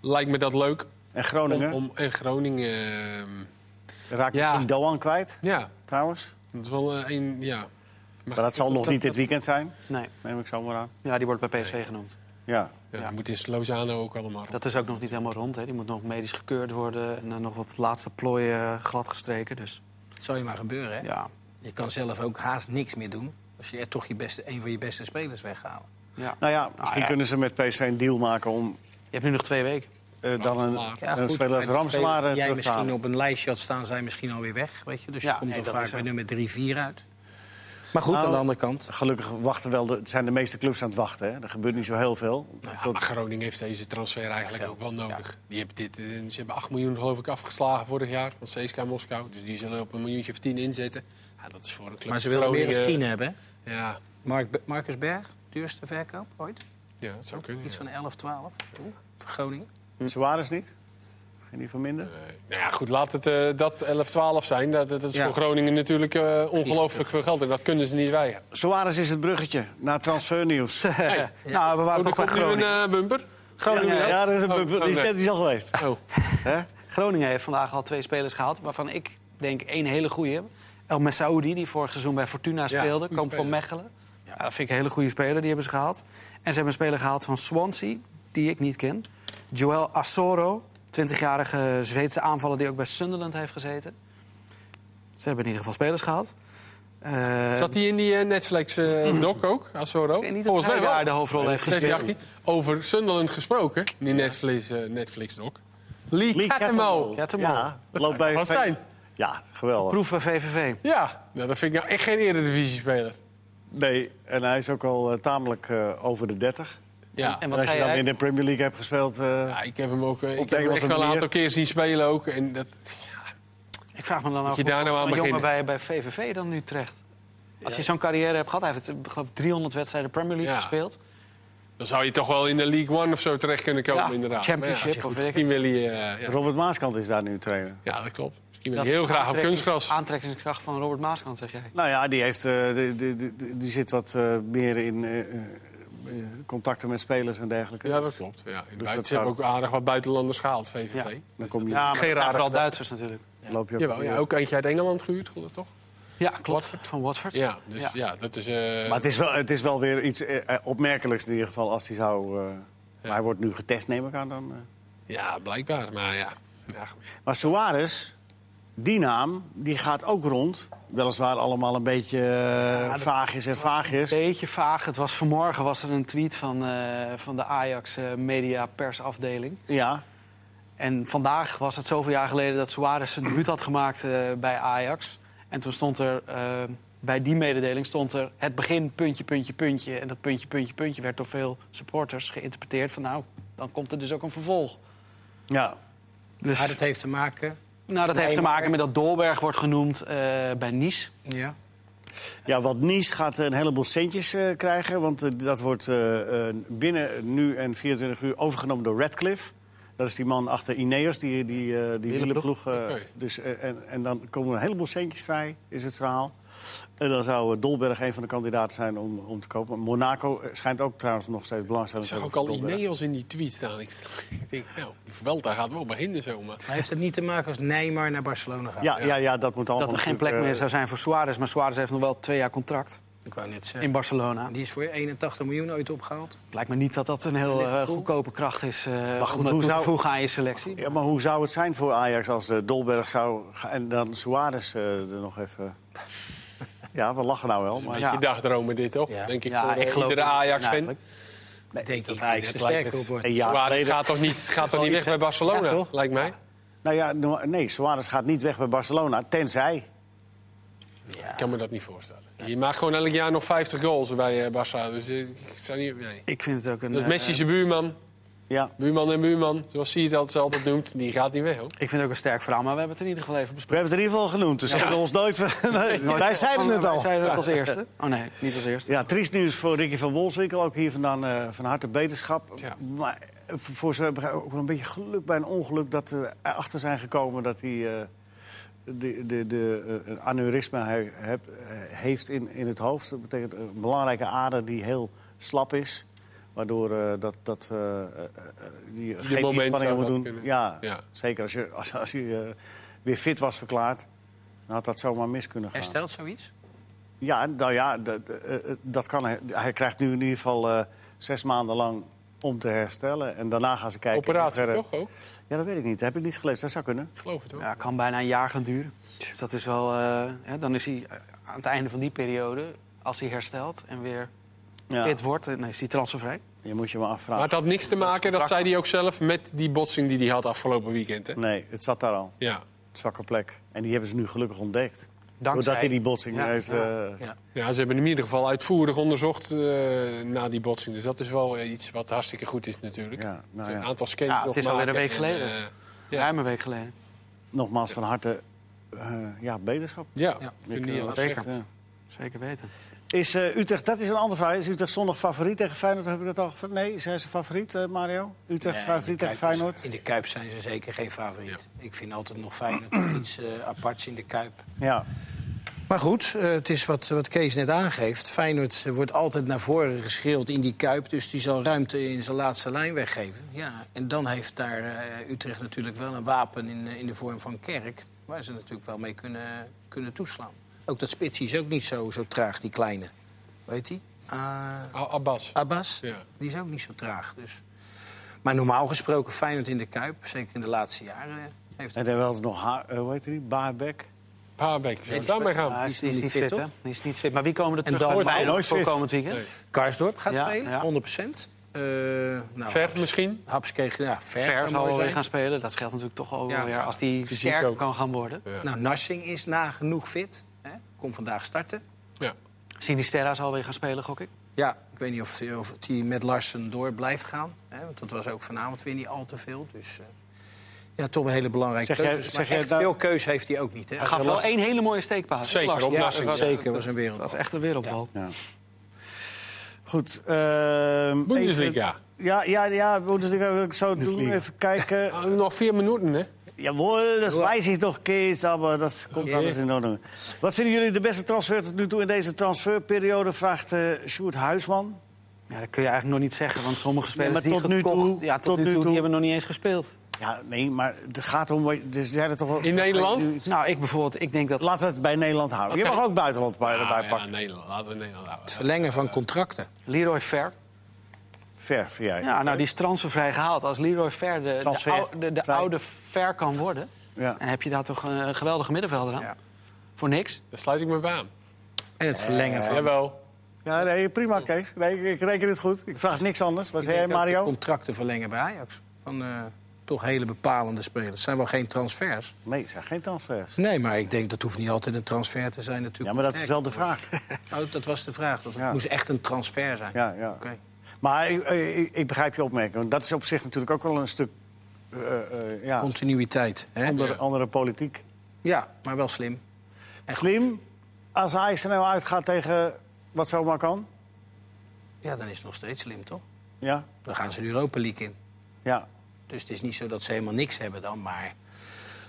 C: lijkt me dat leuk.
A: En
C: Om,
A: Groningen,
C: om, en Groningen... ehm,
A: raak je
C: ja.
A: misschien Doan kwijt,
C: ja,
A: trouwens.
C: dat is wel eh, een... Ja. Maar,
A: Maar dat zal nog niet dit weekend zijn,
B: Nee.
A: neem ik zo maar aan.
B: Ja, die wordt bij PSV genoemd.
A: Ja.
C: Ja, dat moet in Lozano ook allemaal.
B: Dat is ook nog niet helemaal rond. Hè. Die moet nog medisch gekeurd worden. En dan nog wat laatste plooien eh, gladgestreken. Dus
D: Het zal je maar gebeuren, hè?
B: ja.
D: Je kan zelf ook haast niks meer doen. Als je er toch je beste, een van je beste spelers weghalen.
B: ja.
A: Nou ja, misschien
B: ja.
A: kunnen ze met PSV een deal maken om
B: Je hebt nu nog twee weken.
A: eh, dan een,
C: Ramselaar.
A: een speler als
D: maar de
A: Ramselaar eh,
D: spelers die jij
A: terug te
D: misschien
A: halen.
D: op een lijstje had staan, zijn misschien alweer weg. Weet je? Dus
B: Ja,
D: je komt
B: nee,
D: dan
B: dat
D: vaak
B: is
D: bij
B: ook-
D: nummer 3-4 uit. Maar goed,
A: Nou,
D: aan de andere kant.
A: Gelukkig wachten wel de, zijn de meeste clubs aan het wachten. Hè? Er gebeurt niet zo heel veel.
C: Ja,
A: Tot-
C: maar Groningen heeft deze transfer eigenlijk ook wel nodig. Die hebben dit, eh, ze hebben 8 miljoen geloof ik afgeslagen vorig jaar van CSKA Moskou. Dus die zullen op een miljoentje of 10 inzetten. Ja, dat is voor een club.
D: Maar ze
C: als
D: wilden meer dan
C: Groningen-
D: 10 hebben. hè?
C: Ja,
D: Mark, Be- Marcus Berg, duurste verkoop ooit.
C: ja, dat zou kunnen.
D: Iets
C: ja.
D: van 11, 12 toen, voor Groningen.
A: Hm. Suarez niet? Geen die van minder?
C: Nee. Nou ja, goed, laat het eh, dat 11, 12 zijn. Dat, dat is
D: Ja.
C: voor Groningen natuurlijk eh, ongelooflijk veel geld. En dat kunnen ze niet weigeren.
A: Suarez is het bruggetje naar transfernieuws.
B: Nou, we waren
C: Oh, er
B: toch bij
C: komt nu een
B: Groningen.
C: eh, bumper.
A: Groningen,
C: Ja,
A: ja,
C: ja.
A: dat is, een,
C: Oh,
A: bubble.
C: oh,
A: die is
C: nee.
A: net niet al geweest.
C: Oh,
A: Hè?
B: Groningen heeft vandaag al twee spelers gehad. Waarvan ik denk één hele goede. El Messaoudi, die vorig seizoen bij Fortuna speelde.
C: goede
B: Komt van
C: speler.
B: Mechelen. Ja, dat vind ik een hele goede speler. Die hebben ze gehaald. En ze hebben een speler gehaald van Swansea. Die ik niet ken. Joel Asoro. 20-jarige Zweedse aanvaller die ook bij Sunderland heeft gezeten. Ze hebben in ieder geval spelers gehaald. Eh,
C: Zat hij in die eh, Netflix eh, doc ook, Asoro?
B: Mm. Ik weet niet
C: Volgens
B: of
C: mij
B: hij
C: wel.
B: daar de hoofdrol heeft
C: 16,
B: gespeeld.
C: 18. Over Sunderland gesproken, die Netflix, eh, Netflix doc. Lee Catemo.
B: Catemo.
A: Ja,
C: Dat
A: loopt bij
C: zou wat zijn.
A: Ja, geweldig.
B: Proef bij VVV.
C: Ja, nou, dat vind ik nou echt geen eredivisie-speler.
A: Nee, en hij is ook al eh, tamelijk eh, over de 30.
C: Ja.
B: En
A: En
B: wat
A: als
B: ga
A: je dan in
B: jij...
A: de Premier League hebt gespeeld. eh,
C: ja, ik heb hem ook eh, ik
A: de
C: heb hem
A: Engelse
C: echt wel een
A: manier.
C: aantal keer zien spelen ook. En dat,
B: Ik vraag me dan af
C: je daar nou aan
B: een jongen
C: beginnen?
B: bij, bij VVV dan nu terecht. Als je zo'n carrière hebt gehad, hij heeft eh, geloof ik 300 wedstrijden Premier League
C: Ja.
B: gespeeld.
C: dan zou je toch wel in de League One of zo terecht kunnen komen,
B: Ja,
C: inderdaad.
B: Championship
C: Maar ja,
B: of
C: goed,
B: weet ik
C: misschien wil hij... eh, ja.
A: Robert Maaskant is daar nu trainer.
C: ja, dat klopt. Misschien wil
B: Dat
C: hij heel
B: is
C: graag op
B: aantrekkings-
C: kunstgras.
B: Aantrekkingskracht van Robert Maaskant, zeg jij.
A: Nou ja, die, heeft, eh, die, die, die, die zit wat eh, meer in eh, eh, contacten met spelers en dergelijke.
C: Ja, dat klopt. Ja. In buiten-
A: dat
C: Ze hebben
A: zou-
C: ook aardig wat buitenlanders gehaald, VVV.
B: Ja.
C: Dus
A: Dan kom
C: dat
A: je-
C: is
B: Ja, maar
C: geen
B: dat zijn
C: rare
B: vooral Duitsers natuurlijk.
A: Loop je op
C: Jawel, ja, ook eentje uit Engeland gehuurd, klopt dat toch?
B: Ja, klopt. Van Watford.
C: Ja, dus
B: Ja.
C: ja, dat is... eh,
A: Maar het is, wel, het is wel weer iets eh, eh, opmerkelijks in ieder geval als hij zou... eh, maar hij wordt nu getest, neem ik aan dan. eh.
C: Ja, blijkbaar. Maar ja, ja goed.
A: Maar Suarez, die naam, die gaat ook rond. Weliswaar allemaal een beetje eh, vaagjes en vaagjes.
B: Beetje vaag. Het was vanmorgen was er een tweet van, eh, van de Ajax eh, media persafdeling.
A: Ja,
B: En vandaag was het zoveel jaar geleden dat Suarez zijn debuut had gemaakt eh, bij Ajax. En toen stond er eh, bij die mededeling stond er het begin puntje, puntje, puntje. En dat puntje, puntje, puntje werd door veel supporters geïnterpreteerd van nou, dan komt er dus ook een vervolg.
A: ja.
B: Dus,
D: Maar dat heeft te maken.
B: nou, dat heeft te maken met dat Dolberg wordt genoemd eh, bij Nice.
D: Ja.
A: Ja, want Nice gaat een heleboel centjes eh, krijgen. Want eh, dat wordt eh, eh, binnen nu en 24 uur overgenomen door Radcliffe. Dat is die man achter Ineos, die, die, eh die wielerploeg. eh,
C: Oké.
A: dus, eh, en, en dan komen er een heleboel centjes vrij, is het verhaal. En dan zou eh, Dolberg een van de kandidaten zijn om, om te kopen. Monaco eh, schijnt ook trouwens nog steeds
C: Ik
A: belangstelling te
C: zag
A: hebben.
C: ook al
A: voor Dolberg.
C: Ineos in die tweet staan. Ik, ik denk, nou, die Vuelta gaat wel beginnen zo, maar...
D: Maar heeft het niet te maken als Neymar naar Barcelona gaat?
A: Ja, ja, ja, dat moet allemaal.
B: Dat er geen plek meer
A: natuurlijk, eh,
B: zou zijn voor Suarez. Maar Suarez heeft nog wel twee jaar contract
D: Ik wou net zeggen.
B: in Barcelona.
D: Die is voor 81 miljoen ooit opgehaald.
B: Het lijkt me niet dat dat een heel eh, goedkope kracht is eh maar
A: goed,
B: om dat
A: hoe
B: toe te
A: zou-
B: voegen aan je selectie.
A: eh, Ja, maar hoe zou het zijn voor Ajax als eh, Dolberg zou... ga- en dan Suarez eh, er nog even... Ja, we lachen nou wel, maar...
B: Ja.
C: Je dagdromen dit, toch?
D: Ja.
C: Denk ik
B: Ja,
C: voor eh,
B: ik geloof
C: iedere
B: het niet,
C: ajax fan
B: eigenlijk.
D: Ik denk dat
C: ik-
D: hij
C: dat
D: er
C: lijkt
D: sterker
C: me-
D: op wordt.
A: Een jaar
C: Suarez
A: geleden-
C: gaat toch niet, gaat toch niet weg bij Barcelona,
B: Ja, toch?
C: lijkt mij?
A: Nou ja, no- nee, Suarez gaat niet weg bij Barcelona, tenzij.
C: Ik kan me dat niet voorstellen. Je maakt gewoon elk jaar nog 50 goals bij eh, Barça. Dus eh, ik zou niet... Nee.
B: Ik vind het ook een...
C: Dat is
B: eh,
C: Dus Messi's buurman.
A: Ja,
C: Buurman en buurman, zoals Sier dat ze altijd noemt. Die gaat niet weg, hoor.
B: Ik vind het ook een sterk verhaal, maar we hebben het in ieder geval even
A: we
B: besproken.
A: hebben het in ieder geval genoemd, dus hebben we ons nooit... ver- Nee, wij zeiden het
B: Wij
A: al.
B: zeiden het als eerste. Oh nee, niet als eerste.
A: Ja, triest nieuws voor Ricky van Wolfswinkel, ook hier vandaan eh, van harte beterschap.
C: Ja.
A: Maar eh, voor ze hebben ook wel een beetje geluk bij een ongeluk dat we erachter zijn gekomen dat hij... eh, de, de, de, eh, een aneurysme hij heb- eh, heeft in, in het hoofd. Dat betekent een belangrijke ader die heel slap is. Waardoor eh, dat, dat, eh, eh, eh, die geen
C: moment
A: inspanningen
C: zou
A: moet
C: dat
A: doen.
C: kunnen.
A: Ja,
C: Ja.
A: zeker als je, als, als je eh, weer fit was verklaard, dan had dat zomaar mis kunnen gaan.
D: Herstelt zoiets?
A: Ja, nou ja, dat, eh, eh, dat kan. hij. Hij krijgt nu in ieder geval eh, zes maanden lang om te herstellen. En daarna gaan ze kijken. in
C: Operatie
A: hoeverre-
C: toch ook?
A: Ja, dat weet ik niet. Dat heb ik niet gelezen. Dat zou kunnen.
C: Ik geloof het, hoor.
B: Ja, kan bijna een jaar gaan duren. Dus dat is wel... eh, hè, dan is hij eh, aan het einde van die periode, als hij herstelt en weer
A: Ja.
B: fit wordt, eh, nee, is hij transfervrij.
A: Je moet je maar
C: Maar
A: afvragen.
C: het had niks te maken, dat zei hij ook zelf, met die botsing die hij had afgelopen weekend. Hè?
A: Nee, het zat daar al.
C: Ja.
A: Zwakke plek. En die hebben ze nu gelukkig ontdekt.
B: Dankzij...
A: Doordat hij die botsing
B: Ja,
A: heeft.
B: ja.
A: eh,
B: Ja.
C: ja, ze hebben hem in ieder geval uitvoerig onderzocht eh, na die botsing. Dus dat is wel eh, iets wat hartstikke goed is natuurlijk.
A: Ja, nou
C: Dus een
A: ja.
C: aantal scans
B: Ja, het
C: nog
B: is alweer
C: maken
B: een week
C: en,
B: geleden.
C: eh,
B: Ruim een week geleden.
A: Nogmaals van harte. eh, ja, beterschap.
C: ja,
D: Ja,
C: ik vind
A: Ik,
C: niet
A: eh,
C: anders
B: zeker.
C: zeggen.
A: Ja.
B: Zeker weten.
A: Is eh, Utrecht, dat is een andere vraag. Is Utrecht zondag favoriet tegen Feyenoord? Heb ik dat al gevraagd? Nee, zijn ze favoriet, eh, Mario? Utrecht
D: Nee, in
A: favoriet
D: de
A: tegen
D: Kuip is-
A: Feyenoord?
D: In de Kuip zijn ze zeker geen favoriet. Ik vind altijd nog Feyenoord of iets eh, aparts in de Kuip.
A: Ja.
D: Maar goed, eh, het is wat, wat Kees net aangeeft. Feyenoord eh, wordt altijd naar voren geschreeuwd in die kuip. Dus die zal ruimte in zijn laatste lijn weggeven. Ja, en dan heeft daar eh, Utrecht natuurlijk wel een wapen in, eh, in de vorm van Kerk. Waar ze natuurlijk wel mee kunnen, kunnen toeslaan. Ook dat spitsie is ook niet zo, zo traag, die kleine. Weet die? Ah,
C: A- Abbas.
D: Abbas,
C: Ja.
D: die is ook niet zo traag. Dus. Maar normaal gesproken Feyenoord in de kuip, zeker in de laatste jaren, eh, heeft
A: En dan hebben we altijd nog, haar, eh, hoe heet die? Baarbek.
C: Haarbeek, zullen we daarmee gaan?
B: Maar hij Ah, is,
D: Die is
B: die
D: nog
B: is niet fit, hè?
D: toch?
B: Die is niet fit. Maar wie komen er terug
D: Dan
B: bij
D: wordt hij
B: Feyenoord
A: nooit
B: voor
A: fit.
B: komend weekend?
C: Nee.
D: Karsdorp gaat
B: Ja,
D: spelen,
B: ja.
D: 100 procent. eh, nou,
C: Ver
D: Haps-
C: misschien?
D: Haps kreeg, ja, ver,
B: Ver
D: zou
B: zal
D: mooi
B: wel weer
D: zijn.
B: gaan spelen. Dat scheelt natuurlijk toch alweer
D: Ja.
B: weer als die
C: Fysiek
B: sterk
C: ook.
B: kan gaan worden.
C: Ja.
D: Nou, Narsing is nagenoeg fit. Hè? Kon vandaag starten.
C: Ja.
B: Sinisterra zal weer gaan spelen, gok ik.
D: Ja, ik weet niet of, of die met Larsen door blijft gaan. Hè? Want dat was ook vanavond weer niet al te veel. Dus eh, ja, toch een hele belangrijke
A: Zeg jij-
D: keuze.
A: zeg
D: maar
A: jij
D: echt
A: dat-
D: veel keus heeft hij ook niet. Hè?
B: Hij gaf wel één hele mooie steekpaas.
C: Zeker,
B: Lars.
C: op
D: ja,
C: Narsing.
D: zeker, was een wereld.
B: Dat is echt een wereldbal.
A: Ja. Goed. ehm, even-
C: Bundesliga.
A: Ja, ja, ja, Bundesliga wil ik zo doen.
B: Bundesliga.
A: Even kijken.
C: Ah, nog vier minuten, hè?
A: Jawohl, dat weiß ik toch, Kees, maar dat komt
D: Oké.
A: alles in orde. Wat vinden jullie de beste transfer tot nu toe in deze transferperiode? Vraagt eh Sjoerd Huisman.
B: Ja, dat kun je eigenlijk nog niet zeggen, want sommige spelers
A: maar
B: die
A: tot nu
B: gekocht-
A: toe-
B: ja, tot,
A: tot
B: nu
A: nu
B: toe,
A: toe-
B: die hebben nog niet eens gespeeld.
A: Ja, nee, maar het gaat om... wat- Dus jij er toch wel-
C: In Nederland?
B: Nou, ik bijvoorbeeld, ik denk dat
A: Laten we het bij Nederland houden.
C: Oké.
A: Je mag ook buitenland bij, erbij
C: Ah, ja,
A: pakken.
C: Nederland. Laten we Nederland houden.
D: Verlengen van contracten.
B: Leroy Fer.
A: Ver, vind jij.
B: Ja, nou, die is transfervrij gehaald. Als Leroy Fer de, de,
A: Transfer-
B: oude, de, de
A: vrij.
B: oude Fer kan worden,
A: Ja.
B: dan heb je daar toch eh, een geweldige middenvelder aan.
D: Ja.
B: Voor niks.
C: Daar sluit ik me bij aan.
D: En het
A: Eh,
D: verlengen van...
C: Jawel.
A: Ja, nee, prima, Kees. Nee, ik, ik reken het goed. Ik vraag niks anders. Wat
D: Ik
A: zei jij,
D: denk ook de
A: Mario?
D: contracten verlengen bij Ajax. Van eh, toch hele bepalende spelers. Het zijn wel geen transfers.
A: Nee, het zijn geen transfers.
D: Nee, maar ik denk dat hoeft niet altijd een transfer te zijn
A: Ja,
D: natuurlijk.
A: maar dat is wel de vraag.
D: Oh, dat was de vraag. Dat het
A: Ja.
D: moest echt een transfer zijn.
A: Ja, ja.
D: Oké.
A: Maar ik, ik, ik begrijp je opmerking. Want dat is op zich natuurlijk ook wel een stuk eh, eh, ja,
D: Continuïteit. Hè?
A: andere, andere politiek.
D: Ja, maar wel slim.
A: Slim, als Ajax er nou uitgaat tegen wat zomaar kan.
D: Ja, dan is het nog steeds slim, toch?
A: Ja,
D: Dan gaan ze de Europa League in.
A: ja.
D: Dus het is niet zo dat ze helemaal niks hebben dan, maar...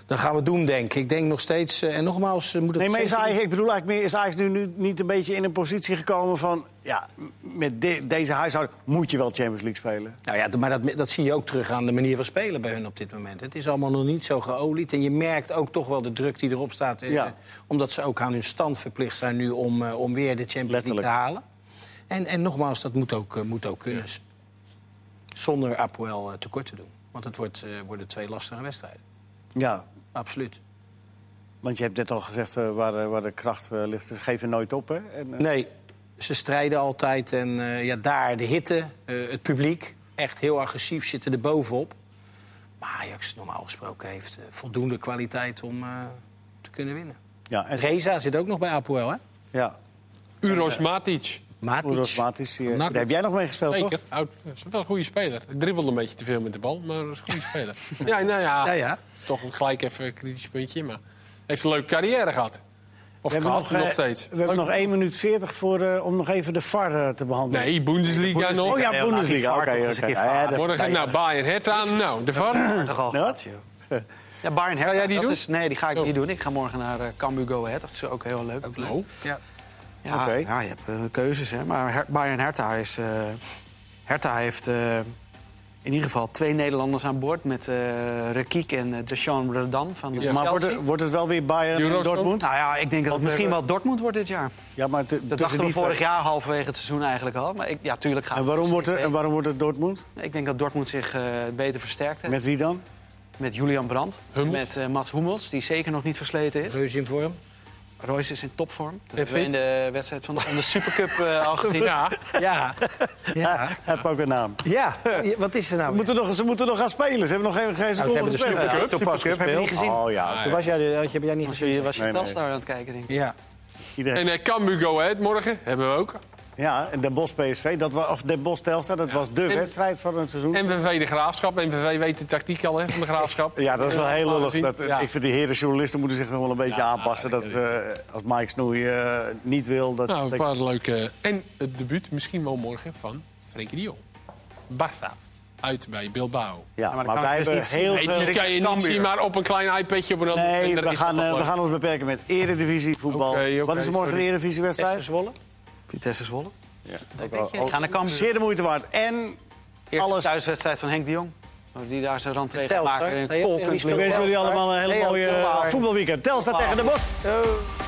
D: Dan gaan we doen, denk ik. Ik denk nog steeds... eh, en nogmaals, eh, moet het
A: Nee, maar is
D: zeker niet-
A: Ajax, ik bedoel eigenlijk meer, is Ajax nu, nu niet een beetje in een positie gekomen van... ja, m- met de- deze huishouding moet je wel Champions League spelen.
D: Nou ja, maar dat, dat zie je ook terug aan de manier van spelen bij hun op dit moment. Het is allemaal nog niet zo geolied. En je merkt ook toch wel de druk die erop staat. eh,
A: Ja.
D: Omdat ze ook aan hun stand verplicht zijn nu om, eh, om weer de Champions
A: Letterlijk.
D: League te halen. En, en nogmaals, dat moet ook, eh, moet ook kunnen. Zonder Apoel eh, tekort te doen. Want het wordt, eh, worden twee lastige wedstrijden.
A: Ja,
D: Absoluut.
A: want je hebt net al gezegd eh, waar, de- waar de kracht eh, ligt. Dus geef je nooit op, hè? En, eh,
D: Nee, ze strijden altijd. En eh, ja, daar de hitte, eh, het publiek, echt heel agressief zitten er bovenop. Maar Ajax normaal gesproken heeft eh, voldoende kwaliteit om eh, te kunnen winnen.
A: ja, en,
D: Reza zit ook nog bij Apoel, hè?
A: ja.
C: Uros Matic.
A: Uros
D: Matic.
A: Matic, die, eh,
D: Nak.
A: daar heb jij nog mee gespeeld, toch?
C: Zeker. Oud, is wel een goede speler. Hij dribbelde een beetje te veel met de bal, maar dat is een goede speler. Ja, nou ja.
D: Ja, ja.
C: Het is toch een gelijk even een kritisch puntje, maar heeft een leuke carrière gehad. Of
A: We hebben
C: gehad nog,
A: eh,
C: steeds.
A: We hebben
C: Leuk.
A: nog 1 minuut 40 voor, eh, om nog even de VAR eh, te behandelen.
C: Nee, Bundesliga nog.
A: Oh ja,
B: Nee,
A: Bundesliga.
B: laat die
A: Oké,
B: VAR toch
A: oké.
B: eens een keer
A: Ja, ja,
B: varen.
A: dat-
C: Morgen naar Bayern Hertha. Nou, de VAR.
B: Toch al
A: Ja?
B: gehad, joh. Ja, Bayern Hertha.
C: jij die
B: dat
C: doen?
B: Is, nee, die ga ik
C: Oh.
B: niet doen. Ik ga morgen naar eh Cambuur Go Ahead. Dat is ook heel leuk. Ook
C: Oh,
D: Ja.
B: Ja,
A: Oké.
B: ja, je hebt eh, keuzes, hè. Maar Her- Bayern Hertha is... eh, Hertha heeft eh, in ieder geval twee Nederlanders aan boord... met eh Rekiek en eh, Deshaun Redan van
C: Ja.
A: Maar
B: Chelsea.
A: wordt, het- wordt het wel weer Bayern en
C: Euros nog?
A: Dortmund?
B: Nou ja, ik denk dat het
A: Want
B: misschien
A: we-
B: wel Dortmund wordt dit jaar.
A: Ja, maar te-
B: Dat
A: tussen
B: dachten we
A: die
B: vorig
A: twee-
B: jaar halverwege het seizoen eigenlijk al. Maar ik, ja, tuurlijk gaat
A: eh? En
B: het
A: waarom
B: dus.
A: wordt, er,
B: Ik
A: en
B: denk-
A: waarom wordt het Dortmund?
B: Ik denk dat Dortmund zich eh, beter versterkt heeft. Met,
A: Met wie dan?
B: Julian Brandt.
C: Hummels.
B: Met eh, Mats Hummels, die zeker nog niet versleten is.
D: Reuze in vorm.
B: Royce is in topvorm. Dat
C: En
B: hebben we in
C: fit.
B: de wedstrijd van de, van de Supercup eh, al gezien.
C: ja.
D: Ja. ja.
A: Heb ook een
B: Oh,
A: naam.
D: Ja. Wat is er nou?
A: Ze moeten, nog, ze moeten nog gaan spelen. Ze hebben nog geen, geen seconde
D: hebben de
A: gespeeld.
D: Supercup.
B: Supercup heb je niet gezien.
A: Oh ja,
C: Ah,
D: Toen was jij, de- had je- heb jij niet
B: Was
D: gezien?
B: je, was je
A: Nee, nee.
B: Telstar aan het kijken, denk ik.
D: Ja.
A: iedereen.
C: En eh Cambuur Go Ahead morgen hebben we ook.
A: Ja, en Den Bosch PSV, dat was, of Den Bosch Telstar, dat was de
C: En-
A: wedstrijd van het seizoen.
C: MVV de Graafschap. MVV weet de tactiek al hè, van de Graafschap.
A: ja, dat is wel heel lullig.
C: gezien.
A: Dat,
C: Ja.
A: Ik vind die heren journalisten moeten zich nog wel een beetje
C: Ja,
A: aanpassen. Dat,
C: dat
A: eh, als Mike Snoei eh, niet wil, dat
C: Nou, een
A: dat-
C: paar leuke... En het debuut misschien wel morgen van Frenkie de Jong. Barca. Uit bij Bilbao.
A: Ja, maar,
B: maar dat kan
A: wij
B: ik dus
A: hebben
B: niet zien.
A: heel
C: Nee,
A: veel...
C: dat kan je niet
B: Cambuur.
C: zien, maar op een klein iPadje op een andere
A: Nee,
C: vinder
A: we
C: is
A: gaan,
C: dat
A: eh,
C: wel
A: we
C: leuk.
A: gaan ons beperken met eredivisie voetbal.
C: Oké, oké,
A: Wat is er morgen
C: sorry.
A: de eredivisiewedstrijd?
D: Zwolle?
B: Vitesse Zwolle.
A: Ook wel-
B: Ik ga naar
A: ook
B: Cambuur.
A: Zeer de moeite waard. En
B: Eerste
A: Alles.
B: thuiswedstrijd van Henk de Jong. Die daar zijn randregel
D: Telstar.
B: maakt. in een
D: Nee,
B: kolk
D: en
B: en
D: wie
A: ik
D: speelt
B: kleur.
A: wens jullie
D: Telstar.
A: allemaal een hele
D: Leo
A: mooie eh,
D: Telstar.
A: voetbalweekend. Telstar tegen de Bos.